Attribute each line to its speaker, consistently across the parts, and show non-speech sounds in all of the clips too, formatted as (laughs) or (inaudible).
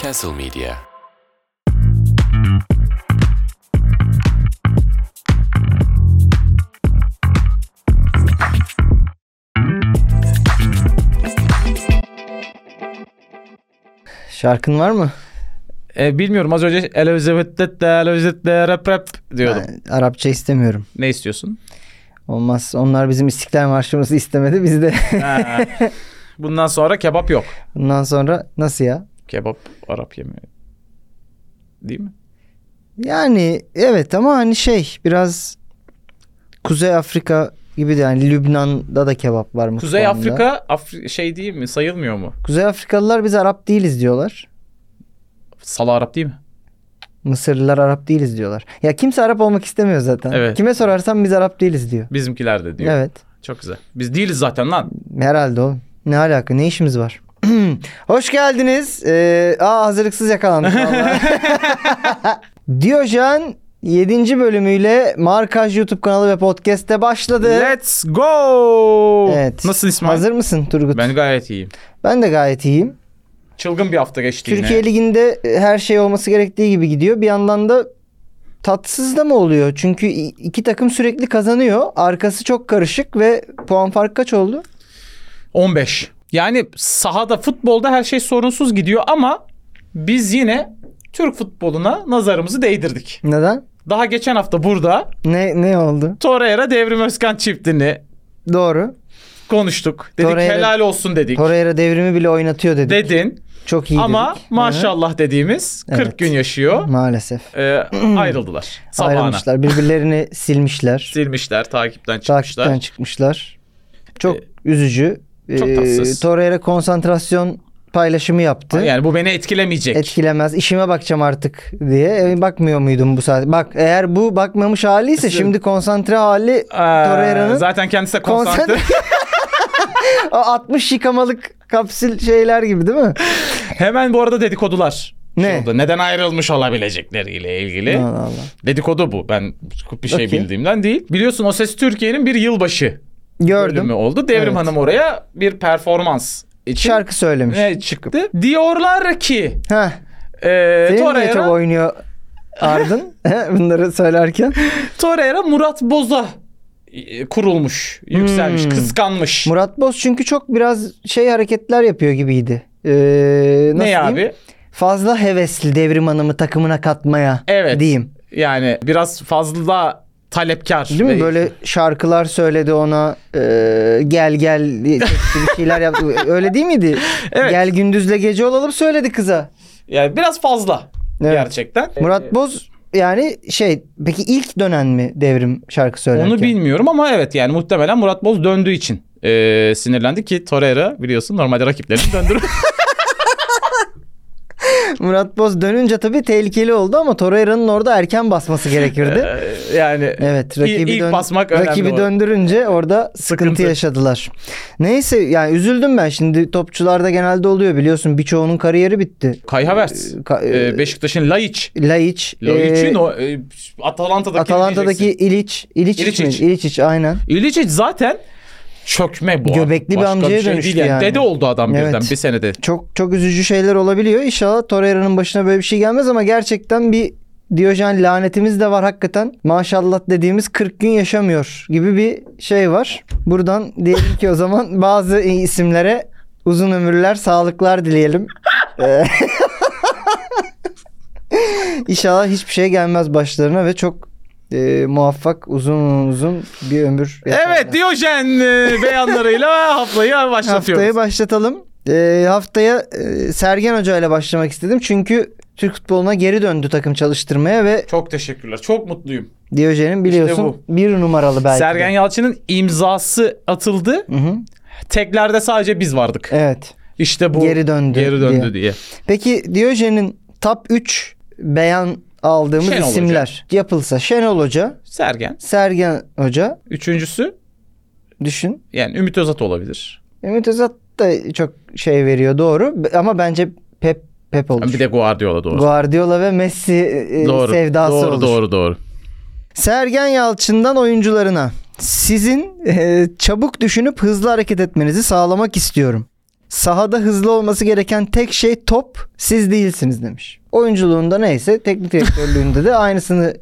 Speaker 1: Castle Media.
Speaker 2: Şarkın var mı?
Speaker 3: E, bilmiyorum az önce Elizabeth'te de Elizabeth'te rap rap diyordum.
Speaker 2: Ben Arapça istemiyorum.
Speaker 3: Ne istiyorsun?
Speaker 2: Olmaz. Onlar bizim İstiklal Marşımızı istemedi. Biz de (laughs)
Speaker 3: Ha. Bundan sonra kebap yok.
Speaker 2: bundan sonra nasıl ya?
Speaker 3: Kebap Arap yemeği. Değil mi?
Speaker 2: Yani evet ama hani şey biraz Kuzey Afrika gibi de yani Lübnan'da da kebap var mutfağında.
Speaker 3: Kuzey Afrika Afri- şey değil mi? Sayılmıyor mu?
Speaker 2: Kuzey Afrikalılar biz Arap değiliz diyorlar.
Speaker 3: Sala Arap değil mi?
Speaker 2: Mısırlılar Arap değiliz diyorlar. Ya kimse Arap olmak istemiyor zaten.
Speaker 3: Evet.
Speaker 2: Kime sorarsan biz Arap değiliz diyor.
Speaker 3: Bizimkiler de diyor.
Speaker 2: Evet.
Speaker 3: Çok güzel. Biz değiliz zaten lan.
Speaker 2: Herhalde o. Ne alaka? Ne işimiz var? (clears throat) Hoş geldiniz. Ee, aa hazırlıksız yakalandık vallahi.
Speaker 3: (laughs)
Speaker 2: Diyojen 7. bölümüyle Markaj YouTube kanalı ve podcast'te başladı.
Speaker 3: Let's go.
Speaker 2: Evet.
Speaker 3: Nasılsın İsmail?
Speaker 2: Hazır mısın Turgut? Ben,
Speaker 3: Ben gayet iyiyim.
Speaker 2: de gayet iyiyim.
Speaker 3: Çılgın bir hafta geçti
Speaker 2: Türkiye
Speaker 3: yine.
Speaker 2: Ligi'nde her şey olması gerektiği gibi gidiyor. Bir yandan da tatsız da mı oluyor? Çünkü i- iki takım sürekli kazanıyor. Arkası çok karışık ve puan farkı kaç oldu?
Speaker 3: 15. Yani sahada futbolda her şey sorunsuz gidiyor ama biz yine Türk futboluna nazarımızı değdirdik.
Speaker 2: Neden?
Speaker 3: Daha geçen hafta burada
Speaker 2: Ne ne oldu?
Speaker 3: Torreira Devrim Özkan çiftini
Speaker 2: Doğru.
Speaker 3: konuştuk. Dedik
Speaker 2: Torreira-
Speaker 3: helal olsun dedik.
Speaker 2: Torreira devrimi bile oynatıyor dedik.
Speaker 3: Dedin
Speaker 2: Çok iyi
Speaker 3: ama
Speaker 2: dedik.
Speaker 3: maşallah dediğimiz 40
Speaker 2: Evet.
Speaker 3: gün yaşıyor.
Speaker 2: Maalesef. (clears throat)
Speaker 3: Ee, ayrıldılar. Sabahına.
Speaker 2: Ayrılmışlar.
Speaker 3: (laughs)
Speaker 2: Birbirlerini silmişler.
Speaker 3: Silmişler, takipten çıkmışlar.
Speaker 2: Takipten çıkmışlar. Çok
Speaker 3: Ee,
Speaker 2: üzücü. E,
Speaker 3: çok tatsız.
Speaker 2: Torreira konsantrasyon paylaşımı yaptı.
Speaker 3: Yani bu beni etkilemeyecek.
Speaker 2: Etkilemez. İşime bakacağım artık diye. E, bakmıyor muydum bu saat? Bak eğer bu bakmamış haliyse şimdi konsantre hali
Speaker 3: Ee,
Speaker 2: Torreira'nın
Speaker 3: zaten kendisi de
Speaker 2: konsantre- (laughs)
Speaker 3: konsantre.
Speaker 2: o 60 yıkamalık kapsül şeyler gibi değil mi?
Speaker 3: Hemen bu arada dedikodular.
Speaker 2: Ne?
Speaker 3: Şey oldu, Neden ayrılmış olabilecekleriyle ilgili.
Speaker 2: Allah Allah.
Speaker 3: Dedikodu bu. Ben bir şey
Speaker 2: Okey.
Speaker 3: bildiğimden değil. Biliyorsun O Ses Türkiye'nin bir yılbaşı bölümü
Speaker 2: Gördüm.
Speaker 3: oldu. Devrim
Speaker 2: Evet.
Speaker 3: Hanım oraya bir performans için
Speaker 2: Şarkı söylemiş.
Speaker 3: ne çıktı. Diyorlar ki
Speaker 2: Heh.
Speaker 3: e,
Speaker 2: Senin niye çok
Speaker 3: Torreira,
Speaker 2: oynuyor
Speaker 3: (laughs)
Speaker 2: Ardın (laughs) bunları söylerken?
Speaker 3: Torreira Murat Boz'a e, kurulmuş, yükselmiş,
Speaker 2: Hmm.
Speaker 3: kıskanmış.
Speaker 2: Murat Boz çünkü çok biraz şey hareketler yapıyor gibiydi. Ee, nasıl
Speaker 3: ne
Speaker 2: diyeyim?
Speaker 3: abi?
Speaker 2: Fazla hevesli Devrim Hanım'ı takımına katmaya
Speaker 3: Evet.
Speaker 2: diyeyim.
Speaker 3: Yani biraz fazla talepkar.
Speaker 2: Değil mi?
Speaker 3: ve-
Speaker 2: Böyle şarkılar söyledi ona ee, gel gel
Speaker 3: (laughs)
Speaker 2: diye çekti, bir şeyler yaptı. Öyle değil miydi?
Speaker 3: Evet.
Speaker 2: Gel gündüzle gece olalım söyledi kıza.
Speaker 3: Yani biraz fazla
Speaker 2: Evet.
Speaker 3: gerçekten. E,
Speaker 2: Murat Boz yani şey peki ilk dönen mi Devrim şarkı söylerken?
Speaker 3: Onu bilmiyorum ama evet yani muhtemelen Murat Boz döndüğü için e, sinirlendi ki Torreira biliyorsun normalde rakiplerini döndürür.
Speaker 2: (laughs) Murat Boz dönünce tabii tehlikeli oldu ama Torreira'nın orada erken basması
Speaker 3: (laughs)
Speaker 2: gerekirdi.
Speaker 3: Ee, yani
Speaker 2: Evet,
Speaker 3: İ-
Speaker 2: rakibi
Speaker 3: ilk
Speaker 2: dön-
Speaker 3: basmak önemli
Speaker 2: rakibi
Speaker 3: olan.
Speaker 2: döndürünce orada sıkıntı,
Speaker 3: Sıkıntı.
Speaker 2: yaşadılar. Neyse yani üzüldüm ben. Şimdi topçularda genelde oluyor biliyorsun birçoğunun kariyeri bitti.
Speaker 3: Kai Havertz,
Speaker 2: Ee, Ka-
Speaker 3: e, Beşiktaş'ın Laiç.
Speaker 2: Laiç,
Speaker 3: Laic'in
Speaker 2: e,
Speaker 3: o e, Atalanta'daki
Speaker 2: Atalanta'daki İliç, İliç, İliç,
Speaker 3: İličić.
Speaker 2: aynen.
Speaker 3: İliçic zaten çökme bu.
Speaker 2: Göbekli bir
Speaker 3: Başka şey
Speaker 2: amcaya
Speaker 3: değil
Speaker 2: dönüştü
Speaker 3: yani.
Speaker 2: yani.
Speaker 3: Dede oldu adam
Speaker 2: Evet.
Speaker 3: birden
Speaker 2: (laughs)
Speaker 3: bir senede.
Speaker 2: Çok çok üzücü şeyler olabiliyor. İnşallah Torreira'nın başına böyle bir şey gelmez ama gerçekten bir Diyojen lanetimiz de var hakikaten. Maşallah dediğimiz 40 gün yaşamıyor gibi bir şey var. Buradan diyelim ki o zaman (laughs) bazı isimlere uzun ömürler, sağlıklar dileyelim. Ee, (laughs) İnşallah hiçbir şey gelmez başlarına ve çok e, muvaffak uzun uzun bir ömür. yaşarlar.
Speaker 3: Evet Diyojen e,
Speaker 2: (laughs)
Speaker 3: beyanlarıyla haftayı başlatıyoruz.
Speaker 2: Haftayı başlatalım. Ee, haftaya e, Sergen Hoca ile başlamak istedim. Çünkü Türk futboluna geri döndü takım çalıştırmaya ve
Speaker 3: Çok teşekkürler. Çok mutluyum.
Speaker 2: Diyojen'in biliyorsun bir numaralı belki. de.
Speaker 3: Sergen Yalçın'ın imzası atıldı.
Speaker 2: Hı hı.
Speaker 3: Teklerde sadece biz vardık.
Speaker 2: Evet.
Speaker 3: İşte bu
Speaker 2: Geri döndü
Speaker 3: geri döndü diye.
Speaker 2: Peki Diyojen'in top 3 beyan aldığımız
Speaker 3: Şenol
Speaker 2: isimler yapılsa Şenol Hoca,
Speaker 3: Sergen.
Speaker 2: Sergen Hoca
Speaker 3: Üçüncüsü
Speaker 2: düşün.
Speaker 3: yani Ümit Özat olabilir.
Speaker 2: Ümit Özat da çok şey veriyor doğru ama bence Pep Pep olur.
Speaker 3: Bir de Guardiola doğru.
Speaker 2: Guardiola ve Messi e,
Speaker 3: doğru.
Speaker 2: sevdası
Speaker 3: doğru,
Speaker 2: olur.
Speaker 3: doğru doğru.
Speaker 2: Sergen Yalçın'dan oyuncularına sizin e, çabuk düşünüp hızlı hareket etmenizi sağlamak istiyorum. Sahada hızlı olması gereken tek şey top siz değilsiniz demiş. Oyunculuğunda neyse teknik direktörlüğünde de aynısını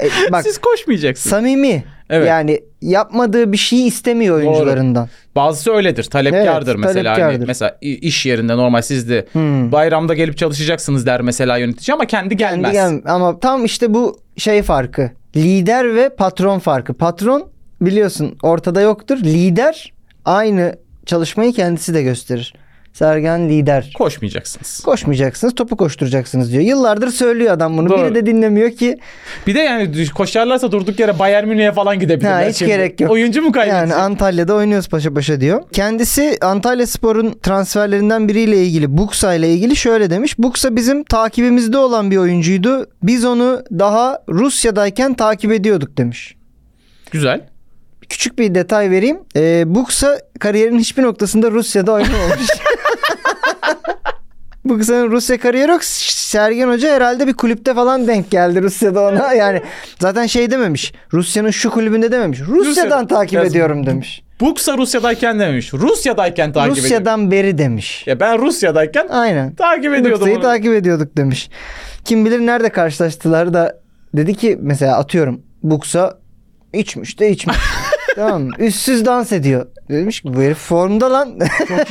Speaker 2: E, bak
Speaker 3: Siz koşmayacaksınız.
Speaker 2: samimi
Speaker 3: Evet.
Speaker 2: yani yapmadığı bir şeyi istemiyor
Speaker 3: Doğru.
Speaker 2: oyuncularından.
Speaker 3: Bazısı öyledir. Talepkardır
Speaker 2: Evet,
Speaker 3: mesela. Hani
Speaker 2: talepkardır.
Speaker 3: mesela i- iş yerinde normal siz de
Speaker 2: Hmm.
Speaker 3: bayramda gelip çalışacaksınız der mesela yönetici ama kendi
Speaker 2: Kendi
Speaker 3: gelmez.
Speaker 2: gel- ama tam işte bu şey farkı. Lider ve patron farkı. Patron biliyorsun ortada yoktur. Lider aynı çalışmayı kendisi de gösterir. Sergen lider.
Speaker 3: Koşmayacaksınız.
Speaker 2: Koşmayacaksınız, topu koşturacaksınız diyor. Yıllardır söylüyor adam bunu.
Speaker 3: Doğru.
Speaker 2: Biri de dinlemiyor ki.
Speaker 3: Bir de yani düş- koşarlarsa durduk yere Bayern Münih'e falan gidebilirler.
Speaker 2: Ha, hiç
Speaker 3: şimdi.
Speaker 2: gerek yok.
Speaker 3: Oyuncu mu kaybedecek?
Speaker 2: Yani Antalya'da oynuyoruz paşa paşa diyor. Kendisi Antalya Spor'un transferlerinden biriyle ilgili Buksa ile ilgili şöyle demiş. Buksa bizim takibimizde olan bir oyuncuydu. Biz onu daha Rusya'dayken takip ediyorduk demiş.
Speaker 3: Güzel.
Speaker 2: Küçük bir detay vereyim. Ee, Buksa kariyerin hiçbir noktasında Rusya'da oynamamış. (laughs) Buksa'nın Rusya kariyeri yok. Sergen Hoca herhalde bir kulüpte falan denk geldi Rusya'da ona. Yani zaten şey dememiş. Rusya'nın şu kulübünde dememiş. Rusya'dan
Speaker 3: Rusya'da.
Speaker 2: takip
Speaker 3: Yazık.
Speaker 2: ediyorum demiş.
Speaker 3: Buksa Rusya'dayken dememiş. Rusya'dayken takip ediyorum.
Speaker 2: Rusya'dan beri demiş.
Speaker 3: Ya ben Rusya'dayken
Speaker 2: Aynen.
Speaker 3: takip ediyordum
Speaker 2: Buksa'yı
Speaker 3: onu.
Speaker 2: takip ediyorduk demiş. Kim bilir nerede karşılaştılar da dedi ki mesela atıyorum Buksa içmiş de
Speaker 3: (laughs)
Speaker 2: içmiş. tamam mı? Üstsüz dans ediyor. Demiş ki bu herif formda lan.
Speaker 3: Çok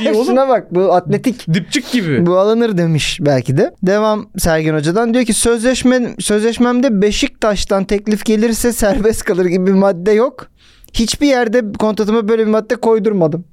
Speaker 2: (laughs)
Speaker 3: iyi oğlum.
Speaker 2: Şuna bak bu
Speaker 3: (laughs)
Speaker 2: atletik.
Speaker 3: Dipçik gibi.
Speaker 2: Bu alınır demiş belki de. Devam Sergen Hoca'dan diyor ki sözleşme, sözleşmemde Beşiktaş'tan teklif gelirse serbest kalır gibi bir madde yok. Hiçbir yerde kontratıma böyle bir madde koydurmadım.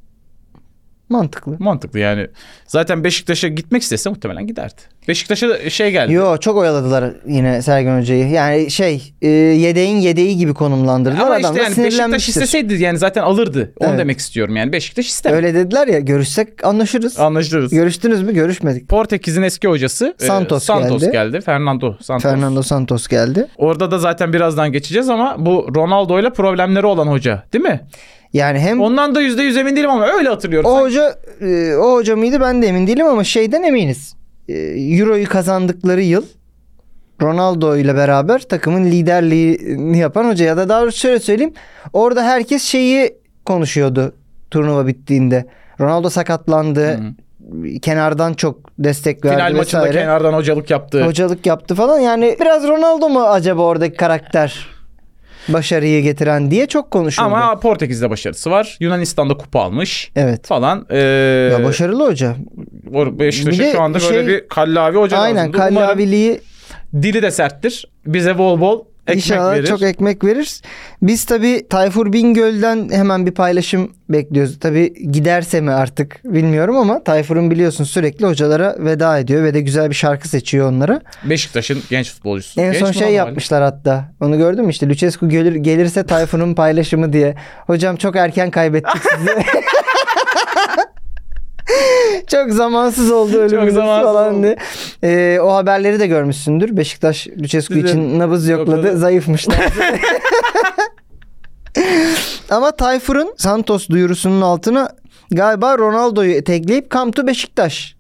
Speaker 2: Mantıklı.
Speaker 3: Mantıklı yani. Zaten Beşiktaş'a gitmek istese muhtemelen giderdi. Beşiktaş'a şey geldi.
Speaker 2: Yo çok oyaladılar yine Sergen Hoca'yı. Yani şey e, yedeğin yedeği gibi konumlandırdılar.
Speaker 3: Ama
Speaker 2: Adam
Speaker 3: işte
Speaker 2: da
Speaker 3: yani Beşiktaş
Speaker 2: sinirlenmiştir.
Speaker 3: isteseydi yani zaten alırdı. Onu
Speaker 2: Evet.
Speaker 3: demek istiyorum yani. Beşiktaş istemedi.
Speaker 2: Öyle dediler ya görüşsek anlaşırız.
Speaker 3: Anlaşılırız.
Speaker 2: Görüştünüz mü? Görüşmedik.
Speaker 3: Portekiz'in eski hocası e,
Speaker 2: Santos
Speaker 3: Santos
Speaker 2: geldi.
Speaker 3: geldi. Fernando Santos.
Speaker 2: Fernando Santos geldi.
Speaker 3: Orada da zaten birazdan geçeceğiz ama bu Ronaldo'yla problemleri olan hoca değil mi?
Speaker 2: Yani hem
Speaker 3: Ondan da %100 emin değilim ama öyle hatırlıyorum.
Speaker 2: o
Speaker 3: Sanki-
Speaker 2: hoca e, o hoca mıydı ben de emin değilim ama şeyden eminiz. E, Euro'yu kazandıkları yıl Ronaldo ile beraber takımın liderliğini yapan hoca ya da daha doğrusu şöyle söyleyeyim. Orada herkes şeyi konuşuyordu turnuva bittiğinde. Ronaldo sakatlandı.
Speaker 3: Hı.
Speaker 2: Kenardan çok destek verdi
Speaker 3: Final maçında
Speaker 2: vesaire.
Speaker 3: kenardan hocalık yaptı.
Speaker 2: Hocalık yaptı falan. Yani biraz Ronaldo mu acaba oradaki karakter başarıyı getiren diye çok konuşuldu.
Speaker 3: Ama Portekiz'de başarısı var. Yunanistan'da kupa almış
Speaker 2: evet.
Speaker 3: falan. Ee,
Speaker 2: Ya başarılı hoca.
Speaker 3: or- Beşiktaş'a
Speaker 2: Bir de
Speaker 3: şu anda
Speaker 2: şey-
Speaker 3: böyle bir kallavi hoca
Speaker 2: Aynen
Speaker 3: lazımdı. Umarım
Speaker 2: Kallavili'yi
Speaker 3: dili de serttir. Bize bol bol ekmek
Speaker 2: İnşallah
Speaker 3: verir.
Speaker 2: çok ekmek verir. Biz tabi Tayfur Bingöl'den hemen bir paylaşım bekliyoruz. Tabi giderse mi artık bilmiyorum ama Tayfur'un biliyorsun sürekli hocalara veda ediyor ve de güzel bir şarkı seçiyor onlara.
Speaker 3: Beşiktaş'ın genç futbolcusu.
Speaker 2: En
Speaker 3: Genç
Speaker 2: son
Speaker 3: mi
Speaker 2: şey
Speaker 3: lan hala?
Speaker 2: yapmışlar hatta. Onu gördün mü işte Lucescu gelir, gelirse Tayfun'un paylaşımı diye. Hocam çok erken kaybettik sizi. (laughs) çok zamansız oldu ölümümüz
Speaker 3: zamansız
Speaker 2: falan
Speaker 3: oldu.
Speaker 2: diye. Ee, o haberleri de görmüşsündür. Beşiktaş Lucescu
Speaker 3: Bize-
Speaker 2: için nabız yokladı.
Speaker 3: yokladı. (laughs)
Speaker 2: Zayıfmışlar. (laughs) Ama Tayfur'un Santos duyurusunun altına galiba Ronaldo'yu etekleyip Come to Beşiktaş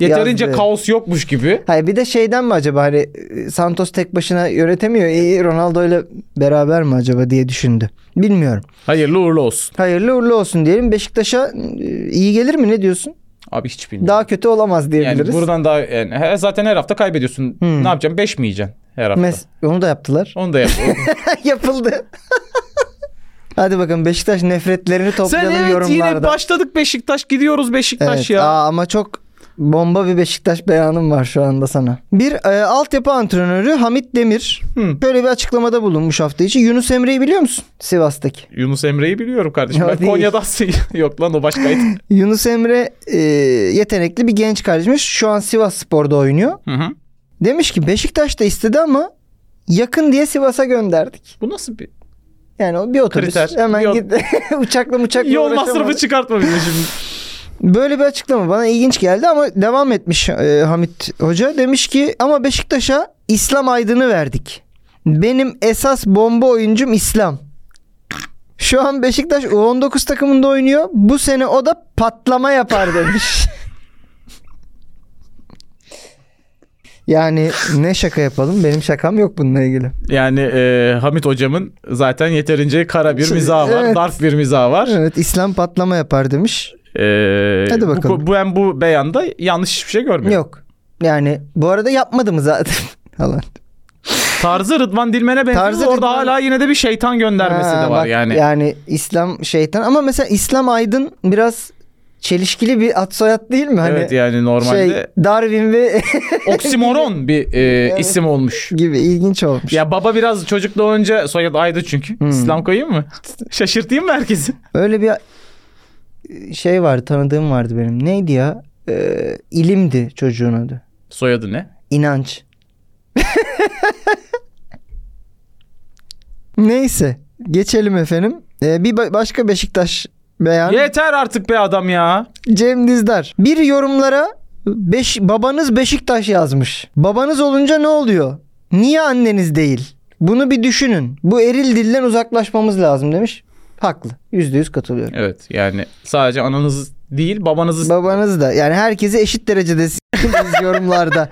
Speaker 3: Yeterince
Speaker 2: yazdı.
Speaker 3: kaos yokmuş gibi.
Speaker 2: Hayır bir de şeyden mi acaba hani e, Santos tek başına yönetemiyor. E, Ronaldo ile beraber mi acaba diye düşündü. Bilmiyorum.
Speaker 3: Hayırlı uğurlu olsun.
Speaker 2: Hayırlı uğurlu olsun diyelim. Beşiktaş'a e, iyi gelir mi ne diyorsun?
Speaker 3: Abi hiç bilmiyorum.
Speaker 2: Daha kötü olamaz diyebiliriz.
Speaker 3: yani buradan daha yani he- zaten her hafta kaybediyorsun.
Speaker 2: Hmm.
Speaker 3: Ne yapacaksın? 5 mi yiyeceksin her hafta?
Speaker 2: Mes- onu da yaptılar. (laughs)
Speaker 3: Onu da yap.
Speaker 2: Yapıldı. (laughs) Hadi bakalım Beşiktaş nefretlerini
Speaker 3: Sen
Speaker 2: toplayalım
Speaker 3: evet yine
Speaker 2: yorumlarda.
Speaker 3: başladık Beşiktaş gidiyoruz Beşiktaş
Speaker 2: Evet.
Speaker 3: ya.
Speaker 2: Aa, ama çok bomba bir Beşiktaş beyanım var şu anda sana. Bir e, altyapı antrenörü Hamit Demir
Speaker 3: Hı.
Speaker 2: böyle bir açıklamada bulunmuş hafta içi. Yunus Emre'yi biliyor musun? Sivas'taki.
Speaker 3: Yunus Emre'yi biliyorum kardeşim.
Speaker 2: Ya
Speaker 3: ben
Speaker 2: değil.
Speaker 3: Konya'dan (laughs) yok lan o başkaydı.
Speaker 2: Yunus Emre e, yetenekli bir genç kardeşmiş. Şu an Sivas Spor'da oynuyor.
Speaker 3: (laughs) Hı hı.
Speaker 2: Demiş ki Beşiktaş da istedi ama yakın diye Sivas'a gönderdik.
Speaker 3: Bu nasıl bir
Speaker 2: Yani o bir otobüs
Speaker 3: Kriter.
Speaker 2: hemen
Speaker 3: Yol-
Speaker 2: git (laughs) uçakla uçakla
Speaker 3: yol masrafı çıkartma bize şimdi.
Speaker 2: Böyle bir açıklama bana ilginç geldi ama devam etmiş e, Hamit Hoca. Demiş ki ama Beşiktaş'a İslam aydını verdik. Benim esas bomba oyuncum İslam. Şu an Beşiktaş U19 takımında oynuyor. Bu sene o da patlama yapar demiş. yani ne şaka yapalım? Benim şakam yok bununla ilgili.
Speaker 3: Yani e, Hamit hocamın zaten yeterince kara bir mizahı var.
Speaker 2: Şey, Evet.
Speaker 3: Darp bir mizahı var.
Speaker 2: Evet İslam patlama yapar demiş.
Speaker 3: Ee,
Speaker 2: Hadi
Speaker 3: bu-
Speaker 2: bakalım.
Speaker 3: Bu, ben bu beyanda yanlış hiçbir şey görmüyorum.
Speaker 2: Yok. Yani bu arada yapmadı mı zaten? (laughs) Falan.
Speaker 3: Tarzı Rıdvan Dilmen'e benziyor.
Speaker 2: Tarzı
Speaker 3: Orada
Speaker 2: Rıdvan-
Speaker 3: hala yine de bir şeytan göndermesi
Speaker 2: Ha,
Speaker 3: de var
Speaker 2: bak,
Speaker 3: yani.
Speaker 2: Yani İslam şeytan ama mesela İslam aydın biraz çelişkili bir ad soyad değil mi? Hani
Speaker 3: evet yani
Speaker 2: şey
Speaker 3: normalde
Speaker 2: (laughs) Darwin ve
Speaker 3: oksimoron bir e,
Speaker 2: Evet.
Speaker 3: isim olmuş.
Speaker 2: gibi ilginç olmuş.
Speaker 3: Ya baba biraz çocukla olunca soyadı Aydı çünkü.
Speaker 2: Hmm.
Speaker 3: İslam koyayım mı? Şaşırtayım mı herkesi?
Speaker 2: Öyle bir şey vardı tanıdığım vardı benim. Neydi ya? Ee, ilimdi çocuğun adı.
Speaker 3: Soyadı ne?
Speaker 2: İnanç. (laughs) Neyse geçelim efendim. Ee, bir ba- başka Beşiktaş beyanı.
Speaker 3: Yeter artık be adam ya.
Speaker 2: Cem Dizdar. Bir yorumlara beş, babanız Beşiktaş yazmış. Babanız olunca ne oluyor? Niye anneniz değil? Bunu bir düşünün. Bu eril dilden uzaklaşmamız lazım demiş. Haklı. Yüzde yüz katılıyorum.
Speaker 3: Evet yani sadece ananız değil babanızı
Speaker 2: Babanız da yani herkesi eşit derecede (laughs) s**tiniz yorumlarda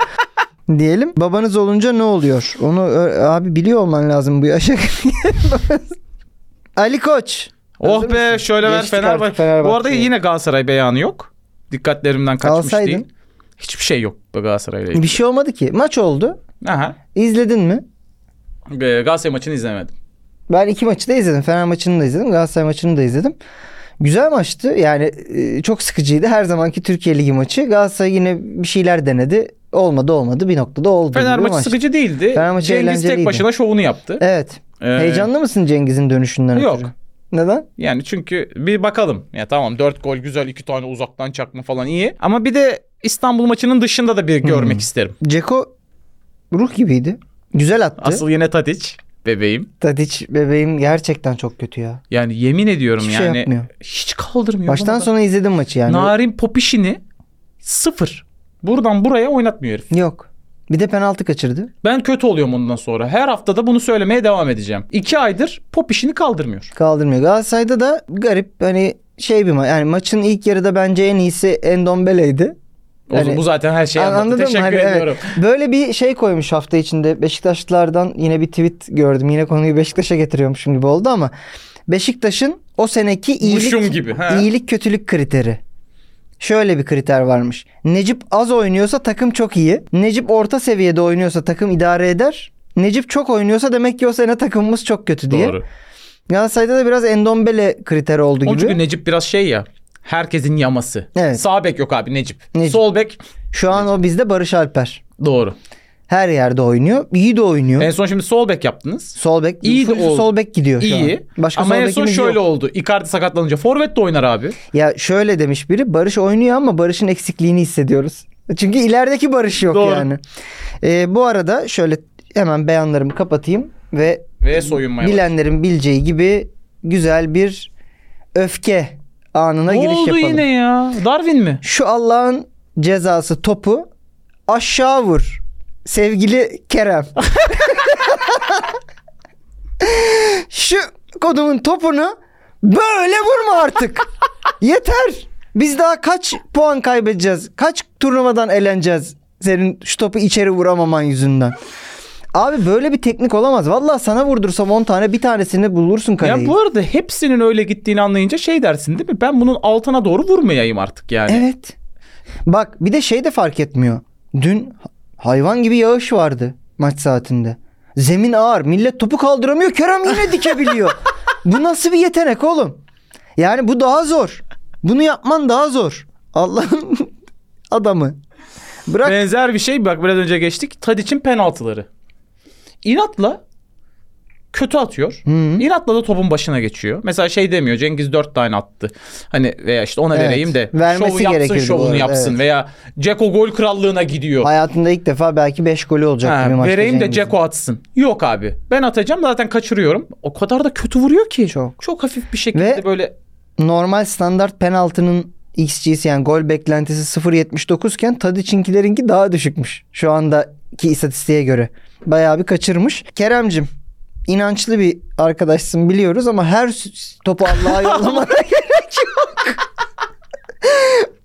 Speaker 2: diyelim. Babanız olunca ne oluyor? Onu ö- abi biliyor olman lazım bu yaşa. (laughs) Ali Koç.
Speaker 3: Oh
Speaker 2: Hazır
Speaker 3: be
Speaker 2: mısın?
Speaker 3: şöyle ver
Speaker 2: Geçtik
Speaker 3: Fenerbahçe.
Speaker 2: artık Fenerbahçe'ye.
Speaker 3: Bu arada yine Galatasaray beyanı yok. Dikkatlerimden kaçmış
Speaker 2: Alsaydın.
Speaker 3: değil. Hiçbir şey yok Galatasaray'la ilgili.
Speaker 2: Bir şey olmadı ki. Maç oldu.
Speaker 3: Aha.
Speaker 2: İzledin mi?
Speaker 3: Ee, Galatasaray maçını izlemedim.
Speaker 2: Ben iki maçı da izledim. Fener maçını da izledim. Galatasaray maçını da izledim. Güzel maçtı. Yani e, çok sıkıcıydı. Her zamanki Türkiye Ligi maçı. Galatasaray yine bir şeyler denedi. Olmadı olmadı. Bir noktada oldu.
Speaker 3: Fener
Speaker 2: gibi
Speaker 3: maçı
Speaker 2: maçtı.
Speaker 3: sıkıcı değildi.
Speaker 2: Fener maçı E,
Speaker 3: Cengiz
Speaker 2: eğlenceliydi.
Speaker 3: tek başına şovunu yaptı.
Speaker 2: Evet.
Speaker 3: Ee,
Speaker 2: Heyecanlı mısın Cengiz'in dönüşünden
Speaker 3: Yok.
Speaker 2: ötürü? Neden?
Speaker 3: Yani çünkü bir bakalım. Ya tamam 4 gol güzel 2 tane uzaktan çakma falan iyi. Ama bir de İstanbul maçının dışında da bir
Speaker 2: Hmm.
Speaker 3: görmek isterim.
Speaker 2: Ceko ruh gibiydi. Güzel attı. Asıl...
Speaker 3: Asıl yine Tadiç bebeğim.
Speaker 2: Tadiç bebeğim gerçekten çok kötü ya.
Speaker 3: Yani yemin ediyorum
Speaker 2: Hiçbir şey
Speaker 3: yani
Speaker 2: yapmıyor.
Speaker 3: hiç kaldırmıyor. bana
Speaker 2: Baştan
Speaker 3: da.
Speaker 2: sona izledim maçı yani.
Speaker 3: Narin Popişini sıfır. Buradan buraya oynatmıyor herif.
Speaker 2: Yok. Bir de penaltı kaçırdı.
Speaker 3: Ben kötü oluyorum ondan sonra. Her hafta da bunu söylemeye devam edeceğim. İki aydır pop işini kaldırmıyor.
Speaker 2: Kaldırmıyor. Galatasaray'da da garip hani şey bir maç. Yani maçın ilk yarıda bence en iyisi Endombele'ydi.
Speaker 3: O-
Speaker 2: Yani-
Speaker 3: bu zaten her şeyi Şey anlattı.
Speaker 2: Hani Anladın mı?
Speaker 3: Teşekkür
Speaker 2: Hani evet.
Speaker 3: ediyorum.
Speaker 2: Böyle bir şey koymuş hafta içinde Beşiktaşlılardan yine bir tweet gördüm. Yine konuyu Beşiktaş'a getiriyormuşum gibi oldu ama Beşiktaş'ın o seneki
Speaker 3: Muşum
Speaker 2: iyilik,
Speaker 3: gibi, he.
Speaker 2: iyilik kötülük kriteri. Şöyle bir kriter varmış. Necip az oynuyorsa takım çok iyi. Necip orta seviyede oynuyorsa takım idare eder. Necip çok oynuyorsa demek ki o sene takımımız çok kötü diye.
Speaker 3: Doğru.
Speaker 2: Galatasaray'da da biraz Endombele kriteri oldu
Speaker 3: Onun
Speaker 2: gibi.
Speaker 3: çünkü Necip biraz şey ya. Herkesin yaması.
Speaker 2: Evet.
Speaker 3: Sağ bek yok abi Necip.
Speaker 2: Necip.
Speaker 3: Sol bek
Speaker 2: Şu an o bizde Barış Alper.
Speaker 3: doğru.
Speaker 2: Her yerde oynuyor. İyi de oynuyor.
Speaker 3: En son şimdi sol bek yaptınız.
Speaker 2: Sol bek.
Speaker 3: İyi de
Speaker 2: full
Speaker 3: oldu.
Speaker 2: sol bek gidiyor şu
Speaker 3: İyi.
Speaker 2: an. Başka
Speaker 3: ama
Speaker 2: sol
Speaker 3: en son
Speaker 2: bekimiz
Speaker 3: şöyle
Speaker 2: yok.
Speaker 3: oldu. Icardi sakatlanınca forvet de oynar abi.
Speaker 2: Ya şöyle demiş biri. Barış oynuyor ama Barış'ın eksikliğini hissediyoruz. Çünkü ilerideki Barış yok
Speaker 3: Doğru.
Speaker 2: yani. Ee, bu arada şöyle hemen beyanlarımı kapatayım ve
Speaker 3: Ve soyunmaya başladı.
Speaker 2: bilenlerin bileceği gibi güzel bir öfke anına
Speaker 3: Ne
Speaker 2: giriş
Speaker 3: oldu
Speaker 2: yapalım.
Speaker 3: yine ya? Darwin mi?
Speaker 2: Şu Allah'ın cezası topu aşağı vur. Sevgili Kerem. (laughs) Şu kodumun topunu böyle vurma artık. Yeter. Biz daha kaç puan kaybedeceğiz? Kaç turnuvadan eleneceğiz? Senin şu topu içeri vuramaman yüzünden. Abi böyle bir teknik olamaz. Vallahi sana vurdursam 10 tane bir tanesini bulursun kaleyi.
Speaker 3: Ya bu arada hepsinin öyle gittiğini anlayınca şey dersin değil mi? Ben bunun altına doğru vurmayayım artık yani.
Speaker 2: Evet. Bak bir de şey de fark etmiyor. Dün hayvan gibi yağış vardı maç saatinde. Zemin ağır. Millet topu kaldıramıyor. Kerem
Speaker 3: (laughs)
Speaker 2: yine dikebiliyor. bu nasıl bir yetenek oğlum? Yani bu daha zor. Bunu yapman daha zor. Allah'ın adamı. Bırak.
Speaker 3: (laughs) Benzer bir şey bak biraz önce geçtik. Tadiç'in penaltıları. İnatla kötü atıyor.
Speaker 2: Hı.
Speaker 3: İnatla da topun başına geçiyor. Mesela şey demiyor Cengiz dört tane attı. Hani veya işte ona
Speaker 2: Evet.
Speaker 3: vereyim de
Speaker 2: Vermesi
Speaker 3: şovu yapsın
Speaker 2: gerekirdi bu
Speaker 3: şovunu
Speaker 2: arada,
Speaker 3: yapsın.
Speaker 2: evet.
Speaker 3: Veya Ceko gol krallığına gidiyor.
Speaker 2: Hayatında ilk defa belki 5 golü olacak
Speaker 3: Ha,
Speaker 2: gibi maçta.
Speaker 3: vereyim de
Speaker 2: Cengiz'in.
Speaker 3: Ceko atsın. Yok abi. Ben atacağım zaten kaçırıyorum. O kadar da kötü vuruyor ki.
Speaker 2: Çok.
Speaker 3: Çok hafif bir şekilde
Speaker 2: Ve-
Speaker 3: böyle
Speaker 2: Normal standart penaltının XG'si yani gol beklentisi 0.79 iken Tadiç'inkilerinki daha düşükmüş. Şu andaki istatistiğe göre. Bayağı bir kaçırmış. Kerem'cim inançlı bir arkadaşsın biliyoruz ama her s- topu
Speaker 3: (laughs)
Speaker 2: Allah'a yollamana gerek yok.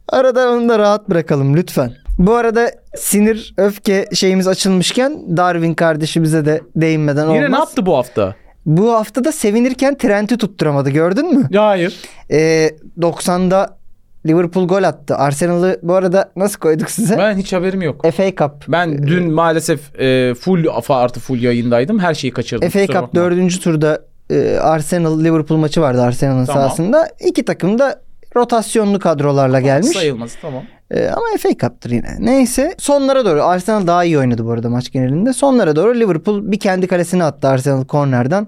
Speaker 2: Arada onu da rahat bırakalım lütfen. Bu arada sinir, öfke şeyimiz açılmışken Darwin kardeşimize de değinmeden olmaz.
Speaker 3: Yine ne yaptı bu hafta?
Speaker 2: Bu hafta da sevinirken Trent'i tutturamadı gördün mü?
Speaker 3: Hayır.
Speaker 2: Ee, 90'da Liverpool gol attı. Arsenal'ı bu arada nasıl koyduk size?
Speaker 3: Ben hiç haberim yok.
Speaker 2: FA Cup.
Speaker 3: Ben dün maalesef e, full afa artı full yayındaydım. Her şeyi kaçırdım.
Speaker 2: FA
Speaker 3: kusura
Speaker 2: Cup
Speaker 3: bakma.
Speaker 2: 4. turda e, Arsenal Liverpool maçı vardı Arsenal'ın
Speaker 3: Tamam.
Speaker 2: sahasında. İki takım da rotasyonlu kadrolarla gelmiş.
Speaker 3: Sayılmaz tamam.
Speaker 2: E, ama FA Cup'tır yine. Neyse sonlara doğru Arsenal daha iyi oynadı bu arada maç genelinde. Sonlara doğru Liverpool bir kendi kalesine attı Arsenal kornerden.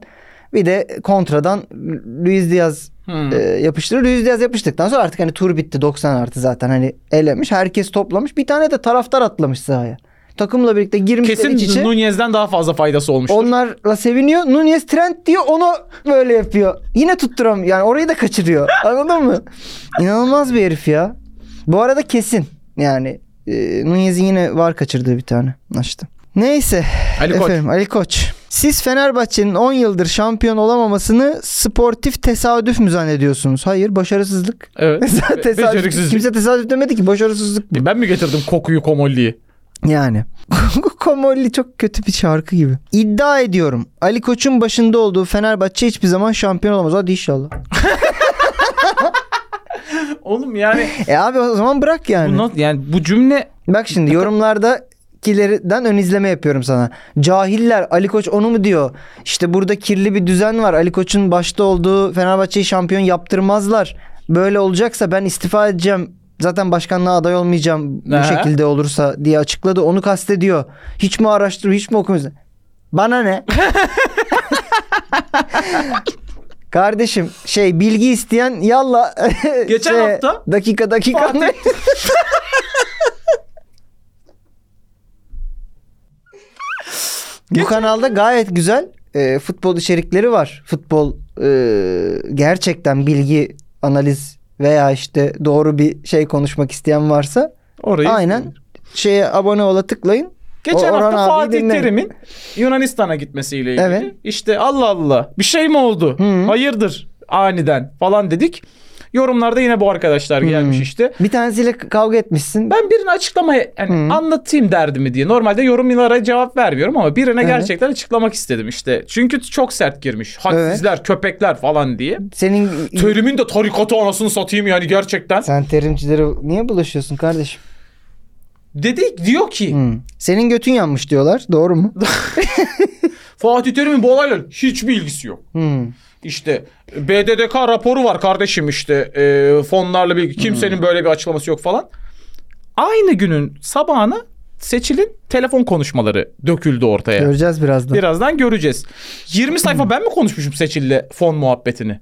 Speaker 2: Bir de kontradan Luis Diaz
Speaker 3: Hmm.
Speaker 2: e, yapıştırır. Luis Diaz yapıştıktan sonra artık hani tur bitti 90 artı zaten hani elemiş. Herkes toplamış. Bir tane de taraftar atlamış sahaya. Takımla birlikte girmişler iç içe.
Speaker 3: Kesin Nunez'den daha fazla faydası olmuştur.
Speaker 2: Onlarla seviniyor. Nunez trend diyor onu böyle yapıyor. Yine tutturamıyor. Yani orayı da kaçırıyor. (laughs) Anladın mı? İnanılmaz bir herif ya. Bu arada kesin. Yani e, Nunez'in yine var kaçırdığı bir tane. Açtı. Neyse.
Speaker 3: Ali Koç.
Speaker 2: efendim, Ali Koç. Siz Fenerbahçe'nin 10 yıldır şampiyon olamamasını sportif tesadüf mü zannediyorsunuz? Hayır başarısızlık. (laughs)
Speaker 3: Evet.
Speaker 2: tesadüf.
Speaker 3: Beceriksizlik.
Speaker 2: Kimse tesadüf demedi ki başarısızlık.
Speaker 3: Ben mi getirdim kokuyu komolliyi?
Speaker 2: Yani. (laughs) Komolli çok kötü bir şarkı gibi. İddia ediyorum. Ali Koç'un başında olduğu Fenerbahçe hiçbir zaman şampiyon olamaz. Hadi inşallah. (laughs)
Speaker 3: Oğlum yani
Speaker 2: E abi o zaman bırak yani.
Speaker 3: bu, not, yani bu cümle
Speaker 2: Bak şimdi yorumlardakilerden ön izleme yapıyorum sana. Cahiller Ali Koç onu mu diyor? İşte burada kirli bir düzen var. Ali Koç'un başta olduğu Fenerbahçe'yi şampiyon yaptırmazlar. Böyle olacaksa ben istifa edeceğim. Zaten başkanlığa aday olmayacağım bu
Speaker 3: Aha.
Speaker 2: şekilde olursa diye açıkladı. Onu kastediyor. Hiç mi araştırıyor, hiç mi okumuyor? Bana ne? Kardeşim şey bilgi isteyen yalla (laughs)
Speaker 3: Geçen
Speaker 2: şey,
Speaker 3: hafta
Speaker 2: dakika dakika
Speaker 3: Fatih-
Speaker 2: (laughs) Bu kanalda gayet güzel e, futbol içerikleri var. Futbol e, gerçekten bilgi, analiz veya işte doğru bir şey konuşmak isteyen varsa
Speaker 3: orayı
Speaker 2: aynen şeye abone ola tıklayın.
Speaker 3: Geçen
Speaker 2: Orhan
Speaker 3: hafta
Speaker 2: abiyi
Speaker 3: Fatih
Speaker 2: dinle.
Speaker 3: Terim'in Yunanistan'a gitmesiyle ilgili.
Speaker 2: Evet.
Speaker 3: İşte Allah Allah bir şey mi oldu?
Speaker 2: Hı.
Speaker 3: Hayırdır aniden falan dedik. Yorumlarda yine bu arkadaşlar gelmiş işte.
Speaker 2: Bir tanesiyle k- kavga etmişsin.
Speaker 3: Ben birine açıklama yani
Speaker 2: Hı.
Speaker 3: anlatayım derdimi diye. Normalde yorumlara cevap vermiyorum ama birine
Speaker 2: Evet.
Speaker 3: gerçekten açıklamak istedim işte. Çünkü çok sert girmiş. Hadsizler, köpekler falan diye.
Speaker 2: Senin
Speaker 3: Terim'in de tarikatı anasını satayım yani gerçekten.
Speaker 2: sen terimcilere niye bulaşıyorsun kardeşim?
Speaker 3: Dedi diyor ki
Speaker 2: Hı. Senin götün yanmış diyorlar. Doğru mu?
Speaker 3: Fatih Terim'in bu olayla hiçbir ilgisi yok.
Speaker 2: Hı.
Speaker 3: İşte BDDK raporu var kardeşim işte e, fonlarla bir kimsenin böyle bir açıklaması yok falan. Aynı günün sabahına seçilin telefon konuşmaları döküldü ortaya.
Speaker 2: Göreceğiz birazdan.
Speaker 3: Birazdan göreceğiz. 20 sayfa ben mi konuşmuşum seçille fon muhabbetini?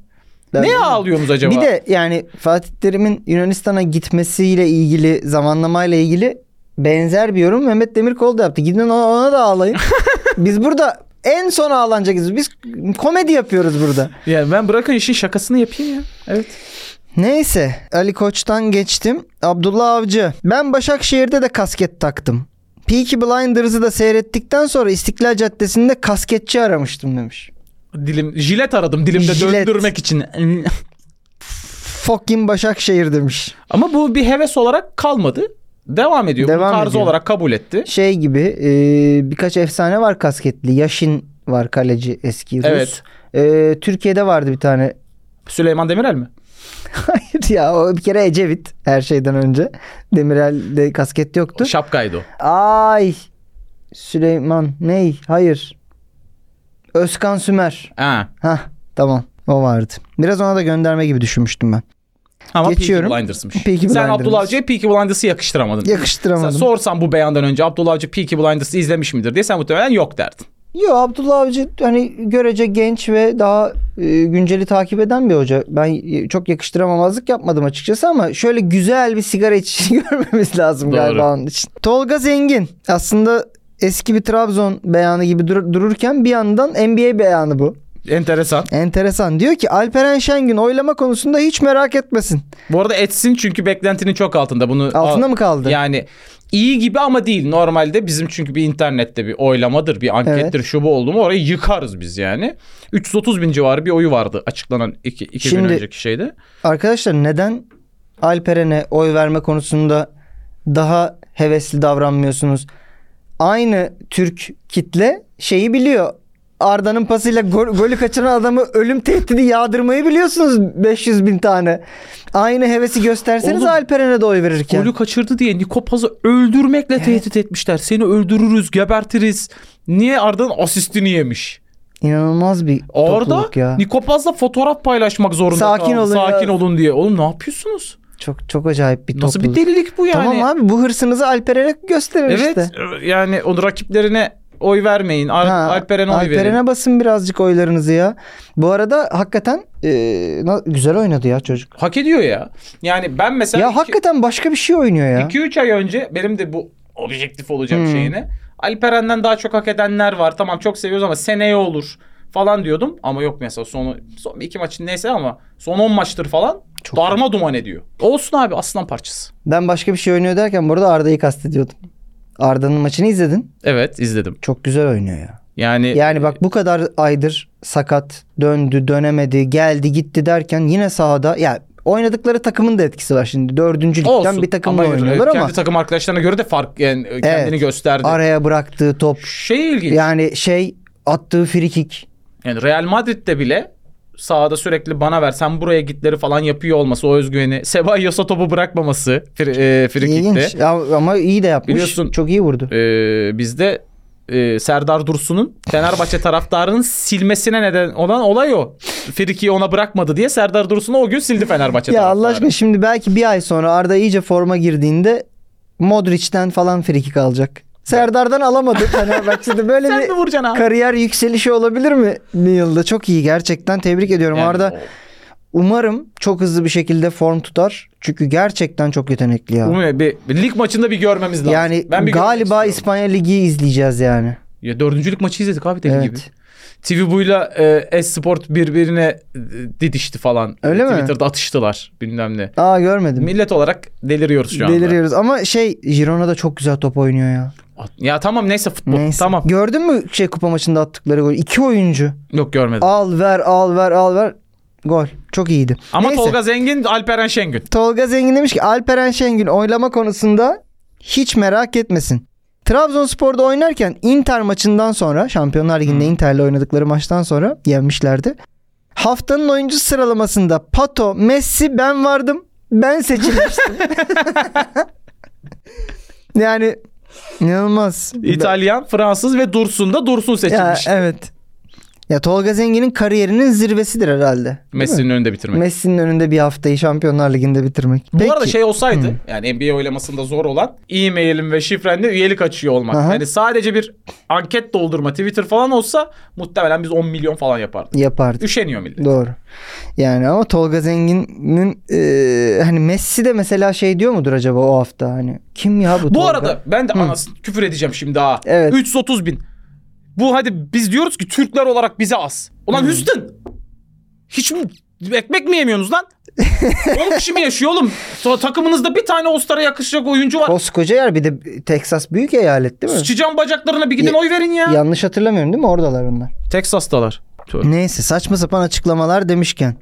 Speaker 2: Ben-
Speaker 3: Neye ağlıyorsunuz acaba?
Speaker 2: Bir de yani Fatih Terim'in Yunanistan'a gitmesiyle ilgili zamanlamayla ilgili benzer bir yorum Mehmet Demirkol da yaptı. Gidin ona, ona da ağlayın. Biz burada en son ağlanacağız. Biz komedi yapıyoruz burada.
Speaker 3: yani ben bırakın işin şakasını yapayım ya. Evet.
Speaker 2: Neyse Ali Koç'tan geçtim. Abdullah Avcı. Ben Başakşehir'de de kasket taktım. Peaky Blinders'ı da seyrettikten sonra İstiklal Caddesi'nde kasketçi aramıştım demiş.
Speaker 3: Dilim jilet aradım dilimde
Speaker 2: Jilet.
Speaker 3: döndürmek için. (laughs)
Speaker 2: Fucking Başakşehir demiş.
Speaker 3: Ama bu bir heves olarak kalmadı. Devam ediyor.
Speaker 2: Devam
Speaker 3: Bunu tarzı
Speaker 2: ediyor.
Speaker 3: olarak kabul etti.
Speaker 2: şey gibi e, birkaç efsane var kasketli. Yaşin var kaleci eski Rus.
Speaker 3: Evet.
Speaker 2: E, Türkiye'de vardı bir tane. (laughs)
Speaker 3: Süleyman Demirel mi?
Speaker 2: Hayır ya o bir kere Ecevit her şeyden önce. Demirel'de kasket yoktu.
Speaker 3: Şapkaydı o.
Speaker 2: Ay Süleyman ney? Hayır. Özkan Sümer.
Speaker 3: Ha.
Speaker 2: Hah tamam o vardı. Biraz ona da gönderme gibi düşünmüştüm ben.
Speaker 3: Ama
Speaker 2: Geçiyorum.
Speaker 3: Peaky Blinders'mış.
Speaker 2: Peaky
Speaker 3: Sen
Speaker 2: Blinders.
Speaker 3: Abdullah Avcı'ya Peaky Blinders'ı yakıştıramadın. Sen
Speaker 2: Yakıştıramadım.
Speaker 3: sorsan bu beyandan önce Abdullah Avcı Peaky Blinders'ı izlemiş midir diye sen muhtemelen yok derdin.
Speaker 2: Yo Abdullah Avcı hani görece genç ve daha e, günceli takip eden bir hoca. Ben e, çok yakıştıramamazlık yapmadım açıkçası ama şöyle güzel bir sigara içişini (laughs) görmemiz lazım
Speaker 3: Doğru.
Speaker 2: galiba onun için. Tolga Zengin aslında eski bir Trabzon beyanı gibi dur- dururken bir yandan NBA beyanı bu.
Speaker 3: Enteresan.
Speaker 2: Enteresan. Diyor ki Alperen Şengün oylama konusunda hiç merak etmesin.
Speaker 3: Bu arada etsin çünkü beklentinin çok altında. Bunu
Speaker 2: Altında
Speaker 3: Al-
Speaker 2: mı kaldı?
Speaker 3: Yani iyi gibi ama değil. Normalde bizim çünkü bir internette bir oylamadır, bir ankettir, şu bu oldu mu orayı yıkarız biz yani. 330 bin civarı bir oyu vardı açıklanan iki, iki
Speaker 2: Şimdi-
Speaker 3: gün önceki şeyde.
Speaker 2: Arkadaşlar neden Alperen'e oy verme konusunda daha hevesli davranmıyorsunuz? Aynı Türk kitle şeyi biliyor. Arda'nın pasıyla gol- golü kaçıran adamı ölüm tehdidi yağdırmayı biliyorsunuz 500 bin tane. Aynı hevesi gösterseniz
Speaker 3: Oğlum,
Speaker 2: Alperen'e de oy verirken.
Speaker 3: Golü kaçırdı diye Nikopaz'ı öldürmekle tehdit etmişler. Seni öldürürüz, gebertiriz. Niye Arda'nın asistini yemiş?
Speaker 2: İnanılmaz bir
Speaker 3: Arda
Speaker 2: topluluk ya.
Speaker 3: Nikopaz'la fotoğraf paylaşmak zorunda
Speaker 2: Sakin
Speaker 3: kaldı.
Speaker 2: olun
Speaker 3: Sakin
Speaker 2: ya.
Speaker 3: olun diye. Oğlum ne yapıyorsunuz?
Speaker 2: Çok çok acayip bir
Speaker 3: Nasıl bir
Speaker 2: topluluk.
Speaker 3: delilik bu yani?
Speaker 2: Tamam abi bu hırsınızı Alperen'e gösterin
Speaker 3: Evet.
Speaker 2: işte.
Speaker 3: Yani o rakiplerine oy vermeyin. Al-
Speaker 2: Ha,
Speaker 3: Alperen'e oy verin.
Speaker 2: Alperen'e basın birazcık oylarınızı ya. Bu arada hakikaten e, na- güzel oynadı ya çocuk.
Speaker 3: Hak ediyor ya. Yani ben mesela
Speaker 2: ya
Speaker 3: iki-
Speaker 2: hakikaten başka bir şey oynuyor ya.
Speaker 3: 2-3 ay önce benim de bu objektif olacak
Speaker 2: Hmm.
Speaker 3: şeyine. Alperen'den daha çok hak edenler var. Tamam çok seviyoruz ama seneye olur falan diyordum. Ama yok mesela son, son iki maçın neyse ama son 10 maçtır falan
Speaker 2: Çok
Speaker 3: darma duman ediyor. Olsun abi aslan parçası.
Speaker 2: Ben başka bir şey oynuyor derken burada Arda'yı kastediyordum. Arda'nın maçını izledin.
Speaker 3: Evet izledim.
Speaker 2: Çok güzel oynuyor ya.
Speaker 3: Yani,
Speaker 2: Yani bak bu kadar aydır sakat döndü dönemedi geldi gitti derken yine sahada ya oynadıkları takımın da etkisi var şimdi. Dördüncü ligden
Speaker 3: olsun.
Speaker 2: bir takımla
Speaker 3: Ama, e,
Speaker 2: oynuyorlar ama
Speaker 3: Kendi takım arkadaşlarına göre de fark yani, e, kendini
Speaker 2: Evet.
Speaker 3: gösterdi.
Speaker 2: araya bıraktığı top
Speaker 3: şey ilginç.
Speaker 2: yani şey attığı frikik
Speaker 3: Yani Real Madrid'de bile sahada sürekli bana ver sen buraya gitleri falan yapıyor olması o özgüveni. (laughs) Sebayos'a topu bırakmaması fri, e, frikikte.
Speaker 2: ilginç Ya ama iyi de yapmış.
Speaker 3: Biliyorsun-
Speaker 2: Çok iyi vurdu.
Speaker 3: Ee, bizde e, Serdar Dursun'un
Speaker 2: (laughs)
Speaker 3: Fenerbahçe taraftarının silmesine neden olan olay o. Friki'yi ona bırakmadı diye Serdar Dursun'u o gün sildi Fenerbahçe
Speaker 2: Ya
Speaker 3: taraftarı.
Speaker 2: Allah aşkına şimdi belki bir ay sonra Arda iyice forma girdiğinde Modric'ten falan frikik alacak. Serdar'dan alamadı
Speaker 3: (laughs)
Speaker 2: Fenerbahçe'de. Böyle
Speaker 3: Sen
Speaker 2: bir
Speaker 3: mi vuracaksın abi?
Speaker 2: kariyer yükselişi olabilir mi bir yılda? Çok iyi gerçekten tebrik ediyorum.
Speaker 3: Yani
Speaker 2: Arda umarım çok hızlı bir şekilde form tutar. Çünkü gerçekten çok yetenekli ya.
Speaker 3: Umuyorum bir, bir lig maçında bir görmemiz lazım.
Speaker 2: Yani
Speaker 3: ben bir
Speaker 2: galiba
Speaker 3: görmek istiyorum.
Speaker 2: İspanya Ligi izleyeceğiz yani.
Speaker 3: Ya dördüncülük maçı izledik abi deli
Speaker 2: Evet.
Speaker 3: gibi. TV Buyla e, Esport birbirine e, didişti falan.
Speaker 2: Öyle mi?
Speaker 3: Twitter'da atıştılar bilmem ne.
Speaker 2: Aa görmedim.
Speaker 3: Millet olarak deliriyoruz şu anda.
Speaker 2: Deliriyoruz ama şey Girona da çok güzel top oynuyor ya.
Speaker 3: Ya tamam neyse futbol.
Speaker 2: Neyse.
Speaker 3: Tamam.
Speaker 2: Gördün mü şey kupa maçında attıkları gol? İki oyuncu.
Speaker 3: Yok görmedim.
Speaker 2: Al ver al ver al ver. Gol. Çok iyiydi.
Speaker 3: Ama
Speaker 2: Neyse.
Speaker 3: Tolga Zengin, Alperen Şengün.
Speaker 2: Tolga Zengin demiş ki Alperen Şengün oylama konusunda hiç merak etmesin. Trabzonspor'da oynarken Inter maçından sonra Şampiyonlar
Speaker 3: Hmm.
Speaker 2: Ligi'nde Inter'le oynadıkları maçtan sonra yenmişlerdi. Haftanın oyuncu sıralamasında Pato, Messi ben vardım. Ben seçilmiştim.
Speaker 3: (laughs)
Speaker 2: (laughs) yani inanılmaz.
Speaker 3: İtalyan, Fransız ve Dursun da Dursun
Speaker 2: Ya, e,
Speaker 3: seçilmiş.
Speaker 2: evet. Ya Tolga Zengin'in kariyerinin zirvesidir herhalde. değil mi?
Speaker 3: Messi'nin önünde bitirmek.
Speaker 2: Messi'nin önünde bir haftayı Şampiyonlar Ligi'nde bitirmek.
Speaker 3: Bu
Speaker 2: Peki.
Speaker 3: arada şey olsaydı yani NBA oylamasında zor olan e-mailin ve şifrenle üyelik açıyor olmak.
Speaker 2: Aha.
Speaker 3: Yani sadece bir anket doldurma Twitter falan olsa muhtemelen biz 10 milyon falan yapardık.
Speaker 2: yapardı.
Speaker 3: Üşeniyor millet.
Speaker 2: Doğru. Yani ama Tolga Zengin'in e, hani Messi de mesela şey diyor mudur acaba o hafta hani kim ya bu
Speaker 3: Bu
Speaker 2: Tolga?
Speaker 3: arada ben de anasını küfür edeceğim şimdi ha.
Speaker 2: Evet.
Speaker 3: 330 bin. Bu hadi biz diyoruz ki Türkler olarak bize az. Ulan Houston. Hiç mi ekmek mi yemiyorsunuz
Speaker 2: (laughs)
Speaker 3: lan? 10 kişi mi yaşıyor oğlum? Ta- Takımınızda bir tane All-Star'a yakışacak oyuncu var.
Speaker 2: koskoca yer bir de Texas büyük eyalet değil mi?
Speaker 3: Sıçacağım bacaklarına bir
Speaker 2: Ya-
Speaker 3: gidin oy verin ya.
Speaker 2: Yanlış hatırlamıyorum değil mi? Oradalar onlar.
Speaker 3: Texas'talar.
Speaker 2: Neyse saçma sapan açıklamalar demişken.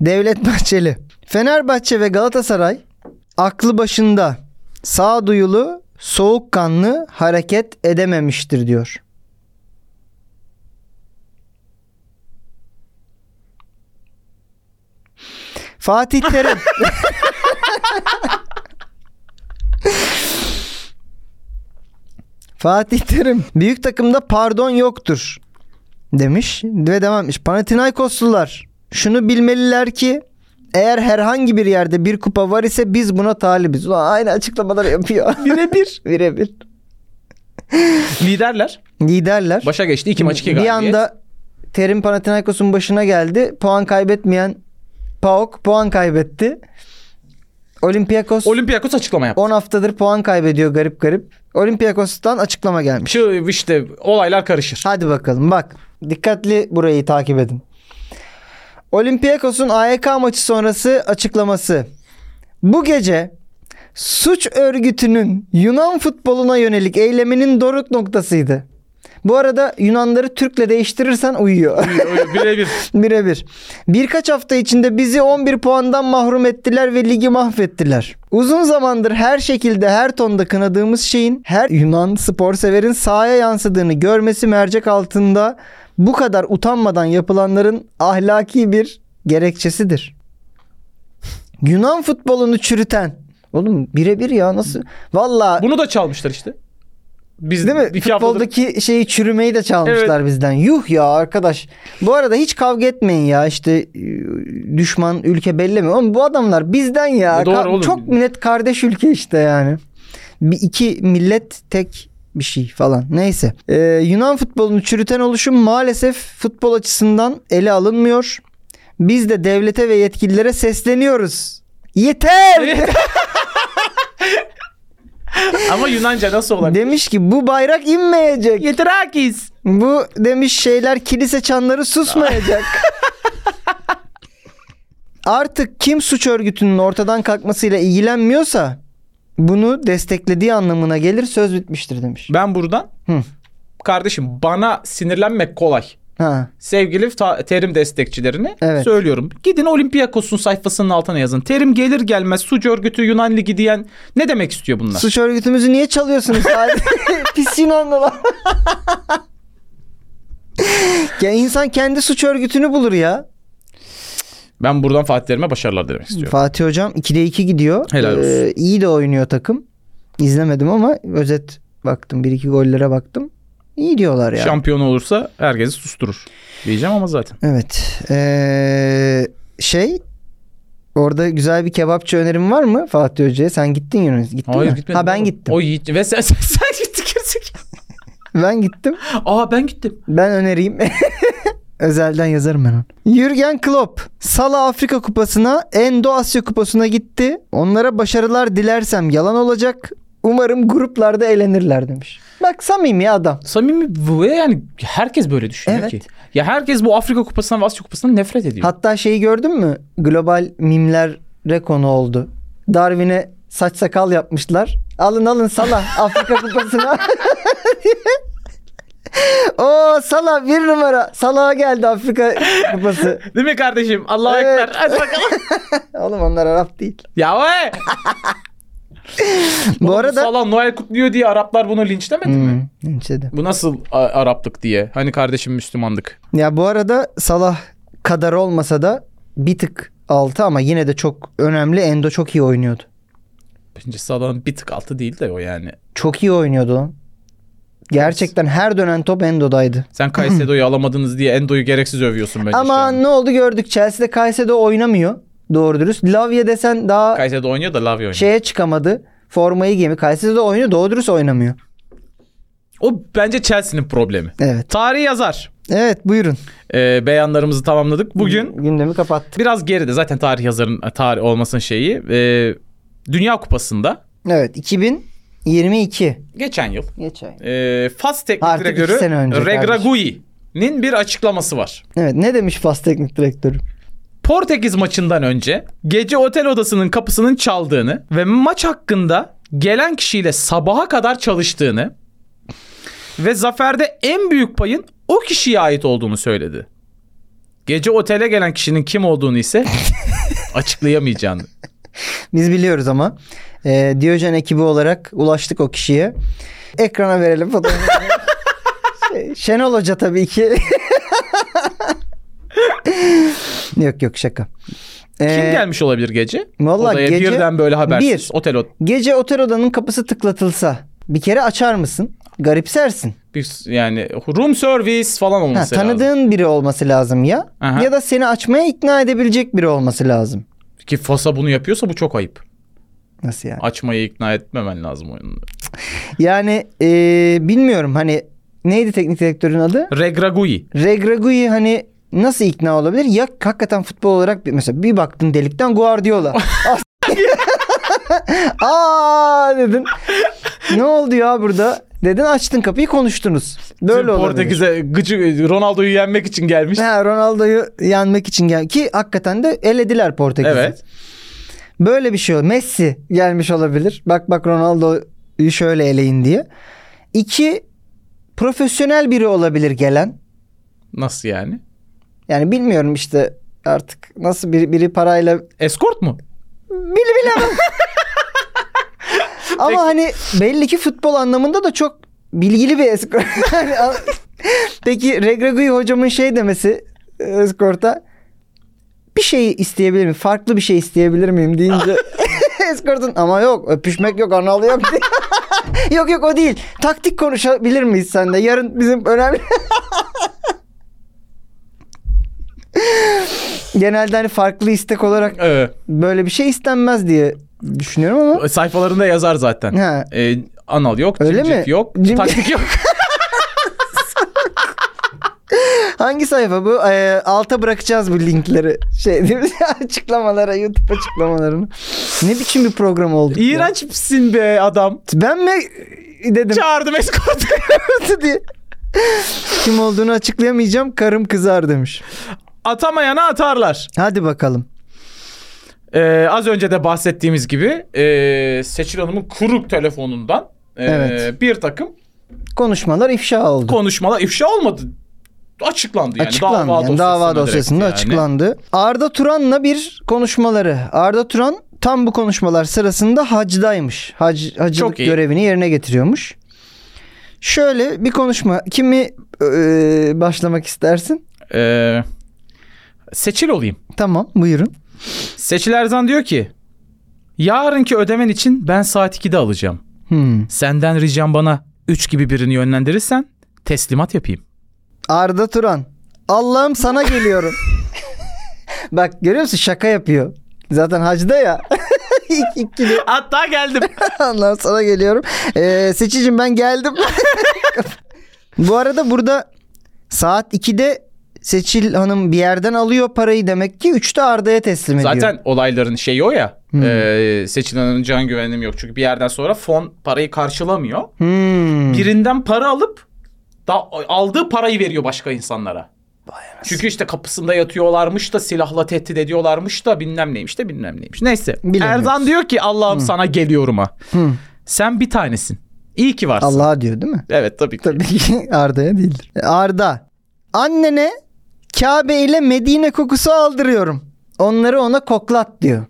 Speaker 2: Devlet Bahçeli. Fenerbahçe ve Galatasaray aklı başında sağduyulu soğukkanlı hareket edememiştir diyor. Fatih Terim. (laughs) Fatih Terim. Büyük takımda pardon yoktur demiş ve devam etmiş. Panathinaikoslular şunu bilmeliler ki eğer herhangi bir yerde bir kupa var ise biz buna talibiz. Ulan aynı açıklamaları yapıyor.
Speaker 3: Birebir.
Speaker 2: (laughs) Birebir.
Speaker 3: Liderler.
Speaker 2: Liderler.
Speaker 3: Başa geçti. 2 maç 2
Speaker 2: bir
Speaker 3: galibiyet.
Speaker 2: anda Terim Panathinaikos'un başına geldi. Puan kaybetmeyen PAOK puan kaybetti. Olympiakos
Speaker 3: Olympiakos açıklama yaptı.
Speaker 2: 10 haftadır puan kaybediyor garip garip. Olympiakos'tan açıklama gelmiş.
Speaker 3: Şu işte olaylar karışır.
Speaker 2: (laughs) Hadi bakalım bak. Dikkatli burayı takip edin. Olympiakos'un AYK maçı sonrası açıklaması. Bu gece suç örgütünün Yunan futboluna yönelik eyleminin doruk noktasıydı. Bu arada Yunanları Türk'le değiştirirsen uyuyor.
Speaker 3: Birebir.
Speaker 2: (laughs) Birebir. Birkaç hafta içinde bizi 11 puandan mahrum ettiler ve ligi mahvettiler. Uzun zamandır her şekilde her tonda kınadığımız şeyin her Yunan spor severin sahaya yansıdığını görmesi mercek altında bu kadar utanmadan yapılanların ahlaki bir gerekçesidir. Yunan futbolunu çürüten. Oğlum birebir ya nasıl? Valla
Speaker 3: Bunu da çalmışlar işte. Biz
Speaker 2: Değil mi?
Speaker 3: iki haftadır-
Speaker 2: Futboldaki şeyi çürümeyi de çalmışlar bizden. Yuh ya arkadaş. Bu arada hiç kavga etmeyin ya. İşte e, düşman ülke belli mi? Oğlum bu adamlar bizden ya.
Speaker 3: E doğru
Speaker 2: Ka-
Speaker 3: oğlum.
Speaker 2: Çok net kardeş ülke işte yani. Bir iki millet tek bir şey falan. Neyse. Ee, Yunan futbolunu çürüten oluşum maalesef futbol açısından ele alınmıyor. Biz de devlete ve yetkililere sesleniyoruz.
Speaker 3: (laughs)
Speaker 2: Yeter!
Speaker 3: Ama Yunanca nasıl olabilir?
Speaker 2: Demiş ki bu bayrak inmeyecek.
Speaker 3: Yetirakis.
Speaker 2: Bu demiş şeyler kilise çanları susmayacak. Artık kim suç örgütünün ortadan kalkmasıyla ilgilenmiyorsa bunu desteklediği anlamına gelir söz bitmiştir demiş.
Speaker 3: Ben buradan
Speaker 2: Hı.
Speaker 3: kardeşim bana sinirlenmek kolay.
Speaker 2: Ha.
Speaker 3: Sevgili ta- terim destekçilerine
Speaker 2: Evet.
Speaker 3: söylüyorum. Gidin Olympiakos'un sayfasının altına yazın. Terim gelir gelmez suç örgütü Yunan Ligi diyen ne demek istiyor bunlar?
Speaker 2: Suç örgütümüzü niye çalıyorsunuz? (laughs) Pis Yunanlılar. ya insan kendi suç örgütünü bulur ya.
Speaker 3: Ben buradan Fatih Terim'e başarılar dilemek istiyorum.
Speaker 2: Fatih hocam 2'de 2 gidiyor. Ee,
Speaker 3: Helal olsun.
Speaker 2: iyi de oynuyor takım. İzlemedim ama özet baktım. 1-2 gollere baktım. İyi diyorlar yani.
Speaker 3: Şampiyon olursa herkesi susturur. Diyeceğim ama zaten.
Speaker 2: Evet. Ee, şey orada güzel bir kebapçı önerim var mı Fatih Hoca'ya? Sen gittin Yunus. Gittin
Speaker 3: Hayır
Speaker 2: mi?
Speaker 3: gitmedim.
Speaker 2: Ha ben
Speaker 3: oğlum.
Speaker 2: gittim.
Speaker 3: O Yiğit ve sen, (laughs) sen, sen gittin gerizekalı.
Speaker 2: Ben gittim.
Speaker 3: Aa ben gittim.
Speaker 2: Ben önereyim. (laughs) Özelden yazarım ben onu. Jürgen Klopp Sala Afrika Kupası'na, Endo Asya Kupası'na gitti. Onlara başarılar dilersem yalan olacak. Umarım gruplarda eğlenirler demiş. Bak samimi adam.
Speaker 3: Samimi ve yani herkes böyle düşünüyor
Speaker 2: Evet.
Speaker 3: ki. Ya herkes bu Afrika Kupası'ndan ve Asya Kupası'ndan nefret ediyor.
Speaker 2: Hatta şeyi gördün mü? Global mimlere konu oldu. Darwin'e saç sakal yapmışlar. Alın alın sala (laughs) Afrika kupasına. o sala bir numara. Salağa geldi Afrika kupası.
Speaker 3: Değil mi kardeşim? Allah'a
Speaker 2: Evet.
Speaker 3: ekber. Hadi
Speaker 2: (laughs)
Speaker 3: bakalım.
Speaker 2: Oğlum onlar Arap değil.
Speaker 3: ya vay.
Speaker 2: Bu
Speaker 3: Oğlum
Speaker 2: arada
Speaker 3: Salah Noel kutluyor diye Araplar bunu linçlemedi mi?
Speaker 2: Hmm, neyse de.
Speaker 3: Bu nasıl A- Araplık diye. Hani kardeşim Müslümandık.
Speaker 2: Ya bu arada Salah kadar olmasa da bir tık altı ama yine de çok önemli. Endo çok iyi oynuyordu.
Speaker 3: Bence Salah'ın bir tık altı değil de o yani.
Speaker 2: Çok iyi oynuyordu lan. Gerçekten her dönen top Endo'daydı. (laughs)
Speaker 3: Sen Kaysedo'yu alamadınız diye Endo'yu gereksiz övüyorsun bence şu
Speaker 2: Ama
Speaker 3: an.
Speaker 2: ne oldu gördük. Chelsea'de Caicedo oynamıyor. Doğru dürüst. Lavia desen daha
Speaker 3: Kaysedo oynuyor da Lavia oynuyor.
Speaker 2: şeye çıkamadı. Formayı giyemi. Caicedo oynuyor. Doğru dürüst oynamıyor.
Speaker 3: O bence Chelsea'nin problemi.
Speaker 2: Evet.
Speaker 3: Tarih yazar.
Speaker 2: Evet buyurun.
Speaker 3: Ee, beyanlarımızı tamamladık. Bugün
Speaker 2: Gündemi kapattık.
Speaker 3: biraz geride zaten tarih yazarın tarih olmasının şeyi. Ee, Dünya Kupası'nda
Speaker 2: Evet 2022.
Speaker 3: geçen yıl
Speaker 2: Geçen.
Speaker 3: e, Fas teknik
Speaker 2: Artık iki
Speaker 3: direktörü
Speaker 2: sene önce
Speaker 3: Regragui'nin bir açıklaması var.
Speaker 2: Evet ne demiş Fas teknik direktörü?
Speaker 3: Portekiz maçından önce gece otel odasının kapısının çaldığını ve maç hakkında gelen kişiyle sabaha kadar çalıştığını ve zaferde en büyük payın o kişiye ait olduğunu söyledi. Gece otele gelen kişinin kim
Speaker 2: (laughs)
Speaker 3: olduğunu ise açıklayamayacağını.
Speaker 2: Biz biliyoruz ama. Ee, Diyojen ekibi olarak ulaştık o kişiye. Ekrana verelim fotoğrafını. Şey, Şenol Hoca tabii ki. (laughs) yok yok şaka.
Speaker 3: Kim
Speaker 2: Ee,
Speaker 3: gelmiş olabilir gece?
Speaker 2: vallahi
Speaker 3: Odaya
Speaker 2: gece
Speaker 3: birden böyle habersiz.
Speaker 2: bir.
Speaker 3: Otel o-
Speaker 2: Gece otel odanın kapısı tıklatılsa bir kere açar mısın? Garipsersin.
Speaker 3: bir- yani room service falan
Speaker 2: Ha,
Speaker 3: olması lazım.
Speaker 2: tanıdığın biri olması lazım ya.
Speaker 3: Aha.
Speaker 2: Ya da seni açmaya ikna edebilecek biri olması lazım.
Speaker 3: Ki Fasa bunu yapıyorsa bu çok ayıp.
Speaker 2: Nasıl yani?
Speaker 3: Açmayı ikna etmemen lazım oyunu.
Speaker 2: Yani eee, bilmiyorum hani neydi teknik direktörün adı?
Speaker 3: Regragui.
Speaker 2: Regragui hani nasıl ikna olabilir? Ya hakikaten futbol olarak bir, mesela bir baktın delikten Guardiola. (laughs) Aa dedin. Ne oldu ya burada? Dedin açtın kapıyı konuştunuz. Böyle
Speaker 3: Bizim
Speaker 2: olabilir.
Speaker 3: Portekiz'e gıcı Ronaldo'yu yenmek için gelmiş.
Speaker 2: Ha, Ronaldo'yu yenmek için gel ki hakikaten de elediler Portekiz'i.
Speaker 3: Evet.
Speaker 2: Böyle bir şey ol. Messi gelmiş olabilir. Bak bak Ronaldo'yu şöyle eleyin diye. İki profesyonel biri olabilir gelen.
Speaker 3: Nasıl yani?
Speaker 2: Yani bilmiyorum işte artık nasıl biri, biri parayla
Speaker 3: Eskort mu?
Speaker 2: Bil bilemem. Ama (laughs)
Speaker 3: Peki.
Speaker 2: hani belli ki futbol anlamında da çok bilgili bir eski. Peki Regragui hocamın şey demesi e, eskorta bir şey isteyebilir miyim? Farklı bir şey isteyebilir miyim deyince (laughs) eskortun ama yok öpüşmek yok analı yok (laughs) diye. yok yok o değil. Taktik konuşabilir miyiz sende? Yarın bizim önemli (laughs) genelde hani farklı istek olarak
Speaker 3: Evet.
Speaker 2: böyle bir şey istenmez diye düşünüyorum ama
Speaker 3: Sayfalarında yazar zaten.
Speaker 2: Ha.
Speaker 3: Ee, anal yok,
Speaker 2: Öyle
Speaker 3: cimcik
Speaker 2: mi?
Speaker 3: yok,
Speaker 2: Cimcik- (laughs)
Speaker 3: taktik yok.
Speaker 2: Hangi sayfa bu? Ee, alta bırakacağız bu linkleri. Şey (laughs) değil mi? açıklamalara, YouTube açıklamalarını. Ne biçim bir program oldu?
Speaker 3: İğrençsin be adam.
Speaker 2: Ben mi dedim
Speaker 3: Çağırdım escort.
Speaker 2: (laughs)
Speaker 3: (laughs)
Speaker 2: diye. Kim olduğunu açıklayamayacağım. Karım kızar demiş.
Speaker 3: Atamayana atarlar.
Speaker 2: Hadi bakalım.
Speaker 3: Ee, az önce de bahsettiğimiz gibi ee, Seçil Hanım'ın kuruk telefonundan ee,
Speaker 2: Evet.
Speaker 3: bir takım
Speaker 2: Konuşmalar ifşa oldu.
Speaker 3: konuşmalar ifşa olmadı. Açıklandı yani.
Speaker 2: açıklandı.
Speaker 3: dava,
Speaker 2: yani dava
Speaker 3: direkt
Speaker 2: dosyasında
Speaker 3: yani.
Speaker 2: açıklandı. Arda Turan'la bir konuşmaları. Arda Turan tam bu konuşmalar sırasında hacdaymış. Hac, hacılık
Speaker 3: Çok iyi.
Speaker 2: görevini yerine getiriyormuş. Şöyle bir konuşma. Kimi e, başlamak istersin?
Speaker 3: Ee, seçil olayım.
Speaker 2: Tamam buyurun.
Speaker 3: Seçil Erzan diyor ki yarınki ödemen için ben saat 2'de alacağım.
Speaker 2: Hmm.
Speaker 3: Senden ricam bana 3 gibi birini yönlendirirsen teslimat yapayım.
Speaker 2: Arda Turan. Allah'ım sana geliyorum.
Speaker 3: (laughs)
Speaker 2: Bak görüyor musun şaka yapıyor. Zaten hacda ya. (laughs) İkili (laughs)
Speaker 3: Hatta geldim.
Speaker 2: Allah'ım sana geliyorum. Ee, seçicim ben geldim. Bu arada burada saat 2'de Seçil Hanım bir yerden alıyor parayı demek ki 3'te Arda'ya teslim ediyor.
Speaker 3: Zaten olayların şeyi o ya.
Speaker 2: Hmm.
Speaker 3: Ee, Seçil Hanım'ın can güvenim yok. Çünkü bir yerden sonra fon parayı karşılamıyor.
Speaker 2: Hmm.
Speaker 3: Birinden para alıp da aldığı parayı veriyor başka insanlara. Çünkü işte kapısında yatıyorlarmış da silahla tehdit ediyorlarmış da bilmem neymiş de bilmem neymiş. Neyse.
Speaker 2: Bilemiyoruz.
Speaker 3: Erzan diyor ki Allah'ım sana geliyorum ha.
Speaker 2: Hı.
Speaker 3: Sen bir tanesin. İyi ki varsın.
Speaker 2: Allah'a diyor değil mi?
Speaker 3: Evet tabii ki.
Speaker 2: Tabii ki (laughs) Arda'ya değildir. E, Arda. Annene Kabe ile Medine kokusu aldırıyorum. Onları ona koklat diyor.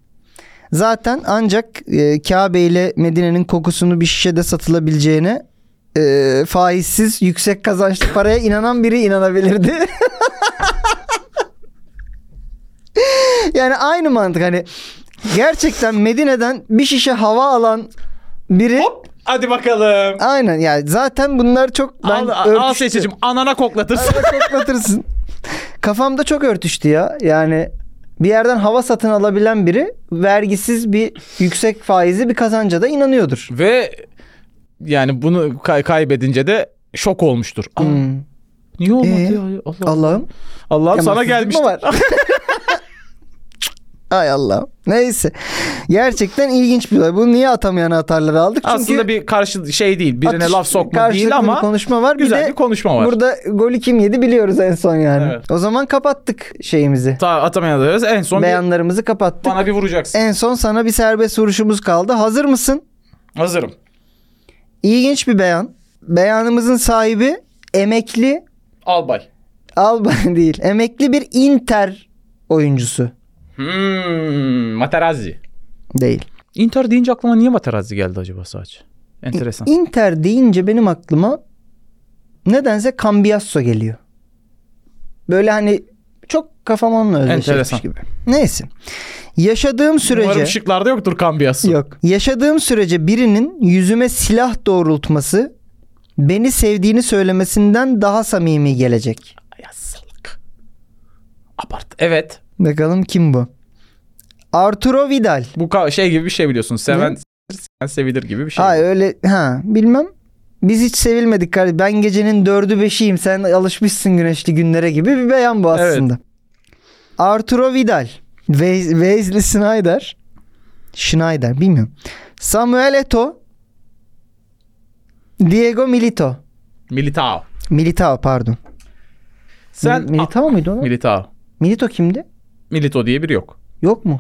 Speaker 2: Zaten ancak e, Kabe ile Medine'nin kokusunu bir şişede satılabileceğine e, faizsiz yüksek kazançlı paraya inanan biri inanabilirdi. (laughs) yani aynı mantık hani gerçekten Medine'den bir şişe hava alan biri
Speaker 3: Hop hadi bakalım.
Speaker 2: Aynen yani zaten bunlar çok ben
Speaker 3: al, al
Speaker 2: örtüştü. (laughs)
Speaker 3: seçicim anana koklatırsın.
Speaker 2: Arada koklatırsın. Kafamda çok örtüştü ya. Yani bir yerden hava satın alabilen biri vergisiz bir yüksek faizi bir kazanca da inanıyordur.
Speaker 3: (laughs) Ve yani bunu kay- kaybedince de şok olmuştur. Aa,
Speaker 2: Hmm.
Speaker 3: Niye olmadı
Speaker 2: Ee?
Speaker 3: ya? Allah,
Speaker 2: Allah'ım.
Speaker 3: Allah'ım sana
Speaker 2: Yamansızlık mı
Speaker 3: gelmiş. (laughs)
Speaker 2: var? Ay Allah'ım. Neyse. Gerçekten ilginç bir olay. Bunu niye atamayana atarları aldık? Çünkü
Speaker 3: Aslında bir karşı şey değil. Birine
Speaker 2: atış-
Speaker 3: laf sokma
Speaker 2: karşılıklı
Speaker 3: değil
Speaker 2: bir
Speaker 3: ama
Speaker 2: konuşma var.
Speaker 3: güzel
Speaker 2: bir de
Speaker 3: bir konuşma var.
Speaker 2: burada golü kim yedi biliyoruz en son yani.
Speaker 3: Evet.
Speaker 2: O zaman kapattık şeyimizi.
Speaker 3: Ta, atamayana da veririz. En son bir-
Speaker 2: Beyanlarımızı kapattık.
Speaker 3: bana bir vuracaksın.
Speaker 2: En son sana bir serbest vuruşumuz kaldı. Hazır mısın?
Speaker 3: Hazırım.
Speaker 2: İlginç bir beyan. Beyanımızın sahibi emekli
Speaker 3: Albay.
Speaker 2: (laughs) albay değil. Emekli bir Inter oyuncusu
Speaker 3: Hmm, Materazzi.
Speaker 2: değil.
Speaker 3: Inter deyince aklıma niye Materazzi geldi acaba sadece? Enteresan.
Speaker 2: Inter deyince benim aklıma nedense Cambiasso geliyor. Böyle hani çok kafam onunla
Speaker 3: Enteresan.
Speaker 2: özdeşleşmiş gibi. Neyse. Yaşadığım sürece
Speaker 3: Umarım şıklarda yoktur Cambiasso.
Speaker 2: Yok. Yaşadığım sürece birinin yüzüme silah doğrultması beni sevdiğini söylemesinden daha samimi gelecek.
Speaker 3: Ya salak. Abart. Evet.
Speaker 2: Bakalım kim bu? Arturo Vidal.
Speaker 3: Bu ka- şey gibi bir şey biliyorsun. Seven seven sevilir gibi bir şey.
Speaker 2: Ay öyle ha bilmem. Biz hiç sevilmedik kardeşim. Ben gecenin dördü beşiyim. Sen alışmışsın güneşli günlere gibi bir beyan bu aslında. Arturo Vidal. Wes- Wesley Snyder. Schneider bilmiyorum. Samuel Eto. Diego Milito.
Speaker 3: Militao.
Speaker 2: Militao pardon.
Speaker 3: Sen
Speaker 2: Mil- Militao muydu o?
Speaker 3: Ah, Militao.
Speaker 2: Milito kimdi?
Speaker 3: Milito diye biri yok.
Speaker 2: Yok mu?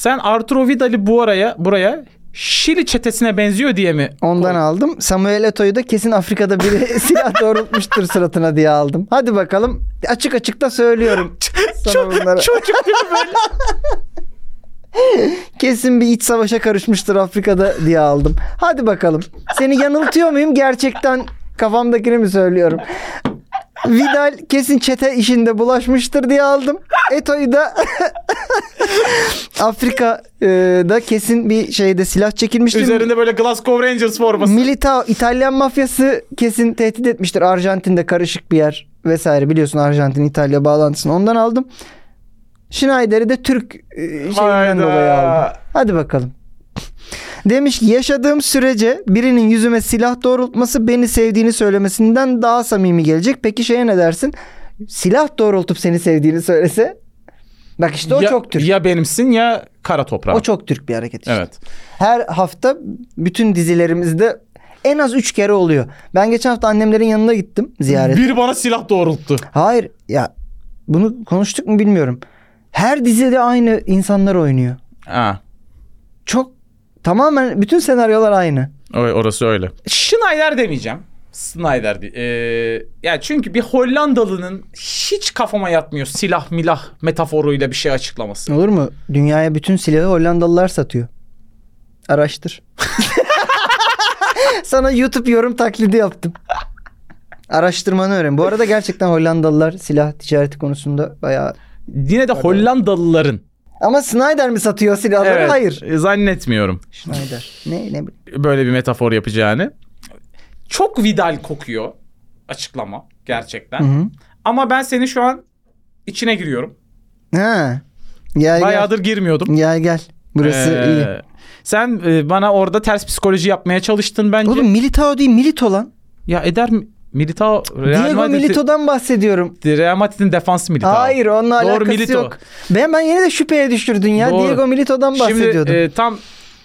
Speaker 3: Sen Arturo Vidal'i bu araya buraya Şili çetesine benziyor diye mi?
Speaker 2: Ondan aldım. Samuel Eto'yu da kesin Afrika'da (laughs) biri silah doğrultmuştur suratına diye aldım. Hadi bakalım. Açık açık da söylüyorum. Sana bunları.
Speaker 3: (laughs) Çocuk gibi böyle.
Speaker 2: Kesin bir iç savaşa karışmıştır Afrika'da diye aldım. Hadi bakalım. Seni yanıltıyor muyum? Gerçekten Kafamdakini mi söylüyorum? Vidal kesin çete işinde bulaşmıştır diye aldım. Eto'yu da (laughs) Afrika'da kesin bir şeyde silah çekilmiştir.
Speaker 3: Üzerinde böyle Glasgow Rangers forması.
Speaker 2: Militao İtalyan mafyası kesin tehdit etmiştir. Arjantin'de karışık bir yer vesaire biliyorsun Arjantin İtalya bağlantısını ondan aldım. Schneider'i de Türk e, şeyinden
Speaker 3: Hayda.
Speaker 2: dolayı aldım. Hadi bakalım. Demiş ki yaşadığım sürece birinin yüzüme silah doğrultması beni sevdiğini söylemesinden daha samimi gelecek. Peki şeye ne dersin? Silah doğrultup seni sevdiğini söylese. Bak işte o
Speaker 3: ya,
Speaker 2: çok Türk.
Speaker 3: Ya benimsin ya kara toprağın.
Speaker 2: O çok Türk bir hareket işte.
Speaker 3: Evet.
Speaker 2: Her hafta bütün dizilerimizde en az 3 kere oluyor. Ben geçen hafta annemlerin yanına gittim ziyaret.
Speaker 3: Bir bana silah doğrulttu.
Speaker 2: Hayır ya bunu konuştuk mu bilmiyorum. Her dizide aynı insanlar oynuyor.
Speaker 3: Ha.
Speaker 2: Çok tamamen bütün senaryolar aynı.
Speaker 3: o- Orası öyle. Schneider demeyeceğim. Snyder diye. Ee, ya çünkü bir Hollandalı'nın hiç kafama yatmıyor silah milah metaforuyla bir şey açıklaması.
Speaker 2: Olur mu? Dünyaya bütün silahı Hollandalılar satıyor. Araştır. (laughs) Sana YouTube yorum taklidi yaptım. Araştırmanı öğren. Bu arada gerçekten Hollandalılar silah ticareti konusunda bayağı
Speaker 3: Yine de Hollandalıların.
Speaker 2: Ama Snyder mi satıyor silahları?
Speaker 3: Evet, e,
Speaker 2: Hayır.
Speaker 3: Zannetmiyorum.
Speaker 2: Snyder. Ne ne bileyim.
Speaker 3: böyle bir metafor yapacağını. Çok Vidal kokuyor açıklama gerçekten.
Speaker 2: Hı hı.
Speaker 3: Ama ben senin şu an içine giriyorum.
Speaker 2: Ha. Gel
Speaker 3: Bayağıdır girmiyordum.
Speaker 2: gel. Gel gel. Burası
Speaker 3: Ee,
Speaker 2: iyi.
Speaker 3: Sen e, bana orada ters psikoloji yapmaya çalıştın bence.
Speaker 2: Oğlum Militao değil Milito lan.
Speaker 3: Ya eder mi? Militao Real
Speaker 2: Diego
Speaker 3: Madrid'i-
Speaker 2: Milito'dan bahsediyorum.
Speaker 3: Real Madrid'in defans Militao.
Speaker 2: Hayır onunla
Speaker 3: Doğru,
Speaker 2: alakası
Speaker 3: Milito.
Speaker 2: yok. Ben ben yine de şüpheye düşürdün ya.
Speaker 3: Doğru.
Speaker 2: Diego Milito'dan
Speaker 3: Şimdi
Speaker 2: bahsediyordum.
Speaker 3: e, tam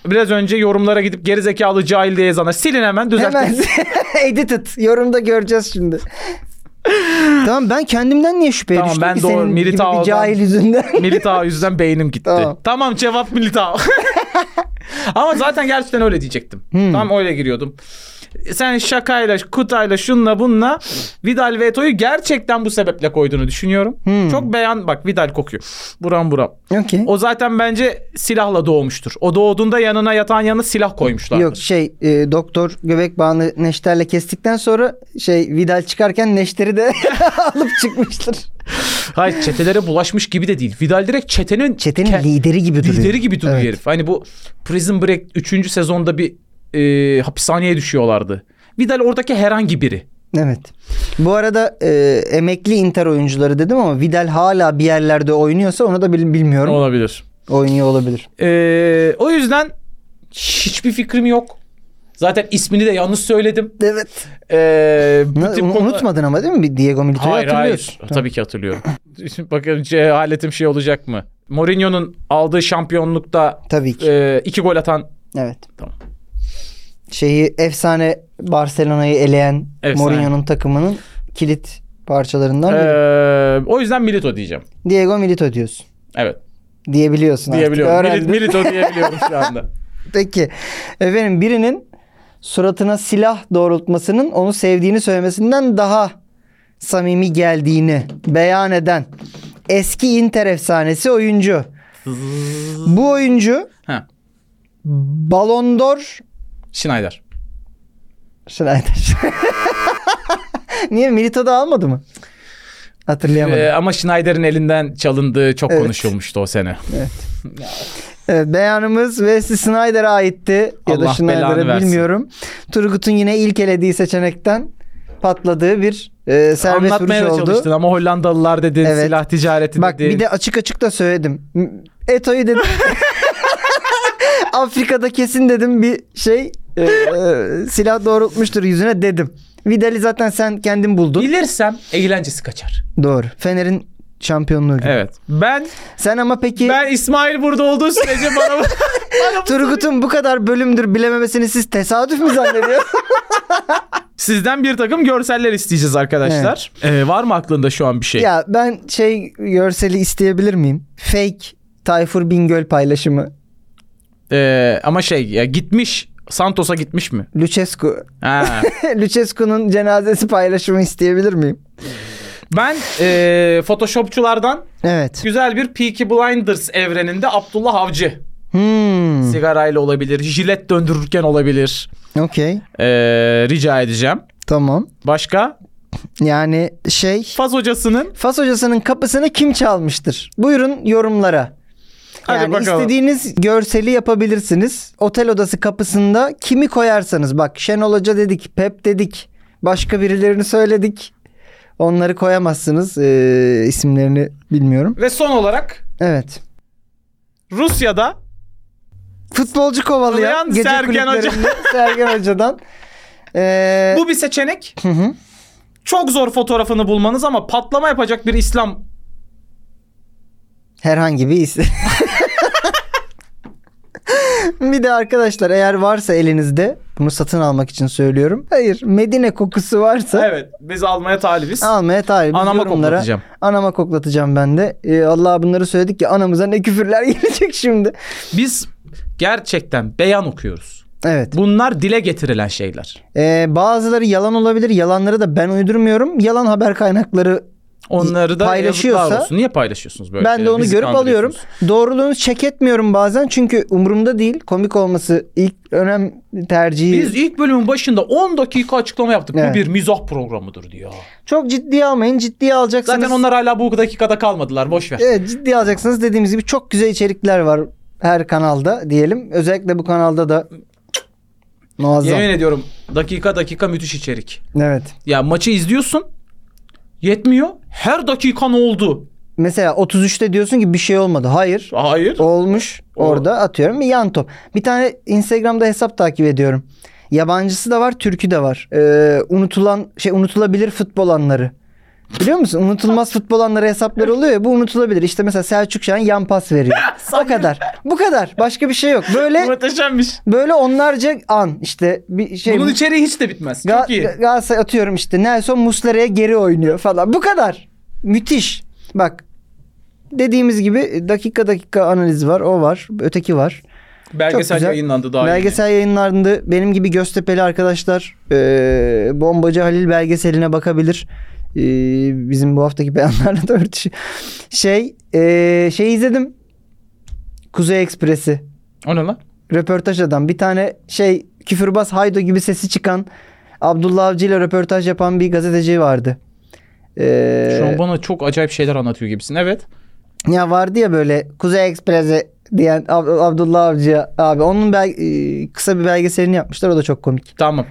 Speaker 3: biraz önce yorumlara gidip gerizekalı cahil diye yazana silin hemen düzeltin.
Speaker 2: Hemen (laughs) edited. Yorumda göreceğiz
Speaker 3: (laughs)
Speaker 2: şimdi. tamam ben kendimden niye şüpheye
Speaker 3: Tamam,
Speaker 2: düştüm
Speaker 3: ben
Speaker 2: ki
Speaker 3: doğru,
Speaker 2: senin gibi bir
Speaker 3: Militao'dan-
Speaker 2: cahil yüzünden? (laughs)
Speaker 3: Militao yüzünden beynim gitti.
Speaker 2: Tamam.
Speaker 3: Tamam, cevap Militao. (laughs) Ama zaten gerçekten öyle diyecektim.
Speaker 2: Hmm.
Speaker 3: Tam öyle giriyordum. Sen şakayla, kutayla, şunla bunla Vidal ve Eto'yu gerçekten bu sebeple koyduğunu düşünüyorum.
Speaker 2: Hmm.
Speaker 3: Çok beyan bak Vidal kokuyor. Buram buram.
Speaker 2: Okey.
Speaker 3: O zaten bence silahla doğmuştur. O doğduğunda yanına yatan yanına silah koymuşlar.
Speaker 2: Yok şey e, doktor göbek bağını neşterle kestikten sonra şey Vidal çıkarken neşteri de (laughs) alıp çıkmıştır.
Speaker 3: Hayır çetelere bulaşmış gibi de değil. Vidal direkt çetenin
Speaker 2: Çetenin
Speaker 3: ke-
Speaker 2: lideri gibi duruyor.
Speaker 3: Lideri gibi duruyor
Speaker 2: Evet.
Speaker 3: herif. Hani bu Prison Break 3. sezonda bir e, hapishaneye düşüyorlardı. Vidal oradaki herhangi biri.
Speaker 2: Evet. Bu arada e, emekli Inter oyuncuları dedim ama Vidal hala bir yerlerde oynuyorsa onu da bil- bilmiyorum.
Speaker 3: Olabilir.
Speaker 2: Oynuyor olabilir.
Speaker 3: E, o yüzden hiçbir fikrim yok. Zaten ismini de yanlış söyledim.
Speaker 2: Evet.
Speaker 3: E, bu tip konu-
Speaker 2: unutmadın ama değil mi? Bir Diego Milito'yu
Speaker 3: Hayır
Speaker 2: hatırlıyorsun.
Speaker 3: hayır. Tabii ki hatırlıyorum. Şimdi Bakalım cehaletim şey olacak mı? Mourinho'nun aldığı şampiyonlukta
Speaker 2: Tabii ki.
Speaker 3: e, iki gol atan
Speaker 2: evet.
Speaker 3: Tamam.
Speaker 2: Şeyi efsane Barcelona'yı eleyen
Speaker 3: Efsane.
Speaker 2: Mourinho'nun takımının kilit parçalarından biri.
Speaker 3: e, o yüzden Milito diyeceğim.
Speaker 2: Diego Milito diyorsun.
Speaker 3: Evet.
Speaker 2: Diyebiliyorsun artık.
Speaker 3: Diyebiliyorum. Mili-
Speaker 2: Öğrendim.
Speaker 3: Milito diyebiliyorum şu (laughs) anda.
Speaker 2: Peki. Efendim birinin suratına silah doğrultmasının onu sevdiğini söylemesinden daha samimi geldiğini beyan eden eski Inter efsanesi oyuncu. Bu oyuncu
Speaker 3: Ha.
Speaker 2: Ballon d'Or
Speaker 3: Schneider.
Speaker 2: Schneider. (laughs) Niye Milito'da almadı mı? Hatırlayamadım.
Speaker 3: Ee, ama Schneider'in elinden çalındığı çok
Speaker 2: Evet.
Speaker 3: konuşulmuştu o sene.
Speaker 2: Evet, beyanımız Wesley Snyder'a aitti ya da
Speaker 3: Allah belanı
Speaker 2: Snyder'a
Speaker 3: versin.
Speaker 2: bilmiyorum. Turgut'un yine ilk elediği seçenekten patladığı bir e, serbest vuruş
Speaker 3: Anlatmaya da
Speaker 2: oldu.
Speaker 3: çalıştın ama Hollandalılar dedin,
Speaker 2: Evet.
Speaker 3: silah ticareti
Speaker 2: Bak
Speaker 3: dedin.
Speaker 2: bir de açık açık da söyledim. M- Eto'yu dedim. (laughs) Afrika'da kesin dedim bir şey e, e, silah doğrultmuştur yüzüne dedim. Vidal'i zaten sen kendin buldun.
Speaker 3: Bilirsem eğlencesi kaçar.
Speaker 2: Doğru. Fener'in şampiyonluğu gibi.
Speaker 3: Evet. Ben
Speaker 2: Sen ama peki
Speaker 3: ben İsmail burada olduğu sürece bana, bana
Speaker 2: Turgut'un bu kadar bölümdür bilememesini siz tesadüf mü zannediyorsunuz?
Speaker 3: (laughs) sizden bir takım görseller isteyeceğiz arkadaşlar. Ee, var mı aklında şu an bir şey?
Speaker 2: Ya ben şey görseli isteyebilir miyim? Fake Tayfur Bingöl paylaşımı.
Speaker 3: Ee, ama şey ya gitmiş Santos'a gitmiş mi?
Speaker 2: Lucescu. (laughs)
Speaker 3: Ha.
Speaker 2: Lucescu'nun cenazesi paylaşımı isteyebilir miyim?
Speaker 3: ben e, Photoshopçulardan
Speaker 2: Evet.
Speaker 3: güzel bir Peaky Blinders evreninde Abdullah Avcı
Speaker 2: Hmm.
Speaker 3: sigarayla olabilir, jilet döndürürken olabilir.
Speaker 2: Okey.
Speaker 3: Ee, rica edeceğim.
Speaker 2: Tamam.
Speaker 3: Başka?
Speaker 2: Yani şey
Speaker 3: Faz hocasının
Speaker 2: Fas hocasının kapısını kim çalmıştır? Buyurun yorumlara.
Speaker 3: Hadi
Speaker 2: yani
Speaker 3: bakalım.
Speaker 2: istediğiniz görseli yapabilirsiniz. Otel odası kapısında kimi koyarsanız bak Şenol Hoca dedik, Pep dedik, başka birilerini söyledik. Onları koyamazsınız. Ee, isimlerini bilmiyorum.
Speaker 3: ve son olarak
Speaker 2: Evet.
Speaker 3: Rusya'da
Speaker 2: Futbolcu kovalayan
Speaker 3: Kovalayan
Speaker 2: gece
Speaker 3: Sergen Hoca.
Speaker 2: kulüplerinde (laughs) Sergen Hoca'dan. Ee,
Speaker 3: bu bir seçenek.
Speaker 2: hı hı.
Speaker 3: Çok zor fotoğrafını bulmanız ama patlama yapacak bir İslam
Speaker 2: Herhangi bir isim. (laughs) bir de arkadaşlar eğer varsa elinizde bunu satın almak için söylüyorum. Hayır Medine kokusu varsa
Speaker 3: Evet biz almaya talibiz.
Speaker 2: almaya talibiz.
Speaker 3: Anama
Speaker 2: Yorumlara-
Speaker 3: koklatacağım.
Speaker 2: Anama koklatacağım ben de. Ee, Allah bunları söyledik ya anamıza ne küfürler (laughs) gelecek şimdi.
Speaker 3: Biz gerçekten beyan okuyoruz.
Speaker 2: Evet.
Speaker 3: Bunlar dile getirilen şeyler.
Speaker 2: Ee, bazıları yalan olabilir. Yalanları da ben uydurmuyorum. Yalan haber kaynakları
Speaker 3: Onları da
Speaker 2: Paylaşıyorsa-
Speaker 3: yazıklar olsun. Niye paylaşıyorsunuz böyle
Speaker 2: ben de
Speaker 3: şeyleri?
Speaker 2: onu
Speaker 3: Bizi
Speaker 2: görüp alıyorum.
Speaker 3: kandırıyorsunuz.
Speaker 2: Doğruluğunu çek etmiyorum bazen çünkü umurumda değil. Komik olması ilk önem tercihi.
Speaker 3: Biz ilk bölümün başında 10 dakika açıklama yaptık.
Speaker 2: Evet.
Speaker 3: Bu bir mizah programıdır diyor.
Speaker 2: Çok ciddiye almayın. Ciddiye alacaksınız.
Speaker 3: Zaten onlar hala bu dakikada kalmadılar. Boş ver.
Speaker 2: Evet ciddiye alacaksınız. Dediğimiz gibi çok güzel içerikler var her kanalda diyelim. Özellikle bu kanalda da muazzam.
Speaker 3: Yemin ediyorum dakika dakika müthiş içerik.
Speaker 2: Evet.
Speaker 3: Ya maçı izliyorsun. Yetmiyor. Her dakika ne oldu?
Speaker 2: Mesela 33'te diyorsun ki bir şey olmadı. Hayır.
Speaker 3: Hayır.
Speaker 2: Olmuş. Orada atıyorum bir yan top. Bir tane Instagram'da hesap takip ediyorum. Yabancısı da var, Türkü de var. Ee, unutulan şey unutulabilir futbol anları. Biliyor musun? Unutulmaz futbol anları hesapları oluyor ya bu unutulabilir. İşte mesela Selçuk Şahin yan pas veriyor. o kadar. Bu kadar. Başka bir şey yok. Böyle
Speaker 3: (laughs) Muhteşemmiş.
Speaker 2: böyle onlarca an işte bir şey
Speaker 3: Bunun içeriği hiç de bitmez.
Speaker 2: Ga-
Speaker 3: Çok iyi.
Speaker 2: Ga- Galatasaray atıyorum işte Nelson Muslera'ya geri oynuyor falan. Bu kadar. Müthiş. Bak dediğimiz gibi dakika dakika analiz var. O var. Öteki var. Çok
Speaker 3: Belgesel
Speaker 2: güzel.
Speaker 3: yayınlandı daha
Speaker 2: Belgesel yayınlarında benim gibi Göztepe'li arkadaşlar e, Bombacı Halil belgeseline bakabilir. E, bizim bu haftaki beyanlarla da örtüşü. Şey, e, şey izledim. Kuzey Ekspresi
Speaker 3: yeni. O ne lan?
Speaker 2: röportaj adam. Bir tane şey küfürbaz haydo gibi sesi çıkan Abdullah Avcı ile röportaj yapan bir gazeteci vardı. Ee,
Speaker 3: Şu an bana çok acayip şeyler anlatıyor gibisin. Evet.
Speaker 2: ya vardı ya böyle Kuzey Ekspresi diyen Ab- Abdullah Avcı abi onun bel- e, kısa bir belgeselini yapmışlar o da çok komik.
Speaker 3: Tamam.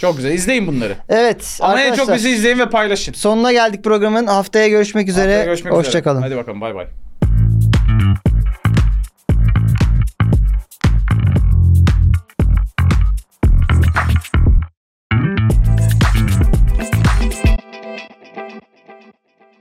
Speaker 3: Çok güzel. İzleyin bunları.
Speaker 2: Evet
Speaker 3: Ama en
Speaker 2: arkadaşlar
Speaker 3: çok bizi izleyin ve paylaşın.
Speaker 2: sonuna geldik programın haftaya görüşmek üzere.
Speaker 3: Haftaya görüşmek üzere.
Speaker 2: Hoşçakalın.
Speaker 3: Hadi bakalım bay bay.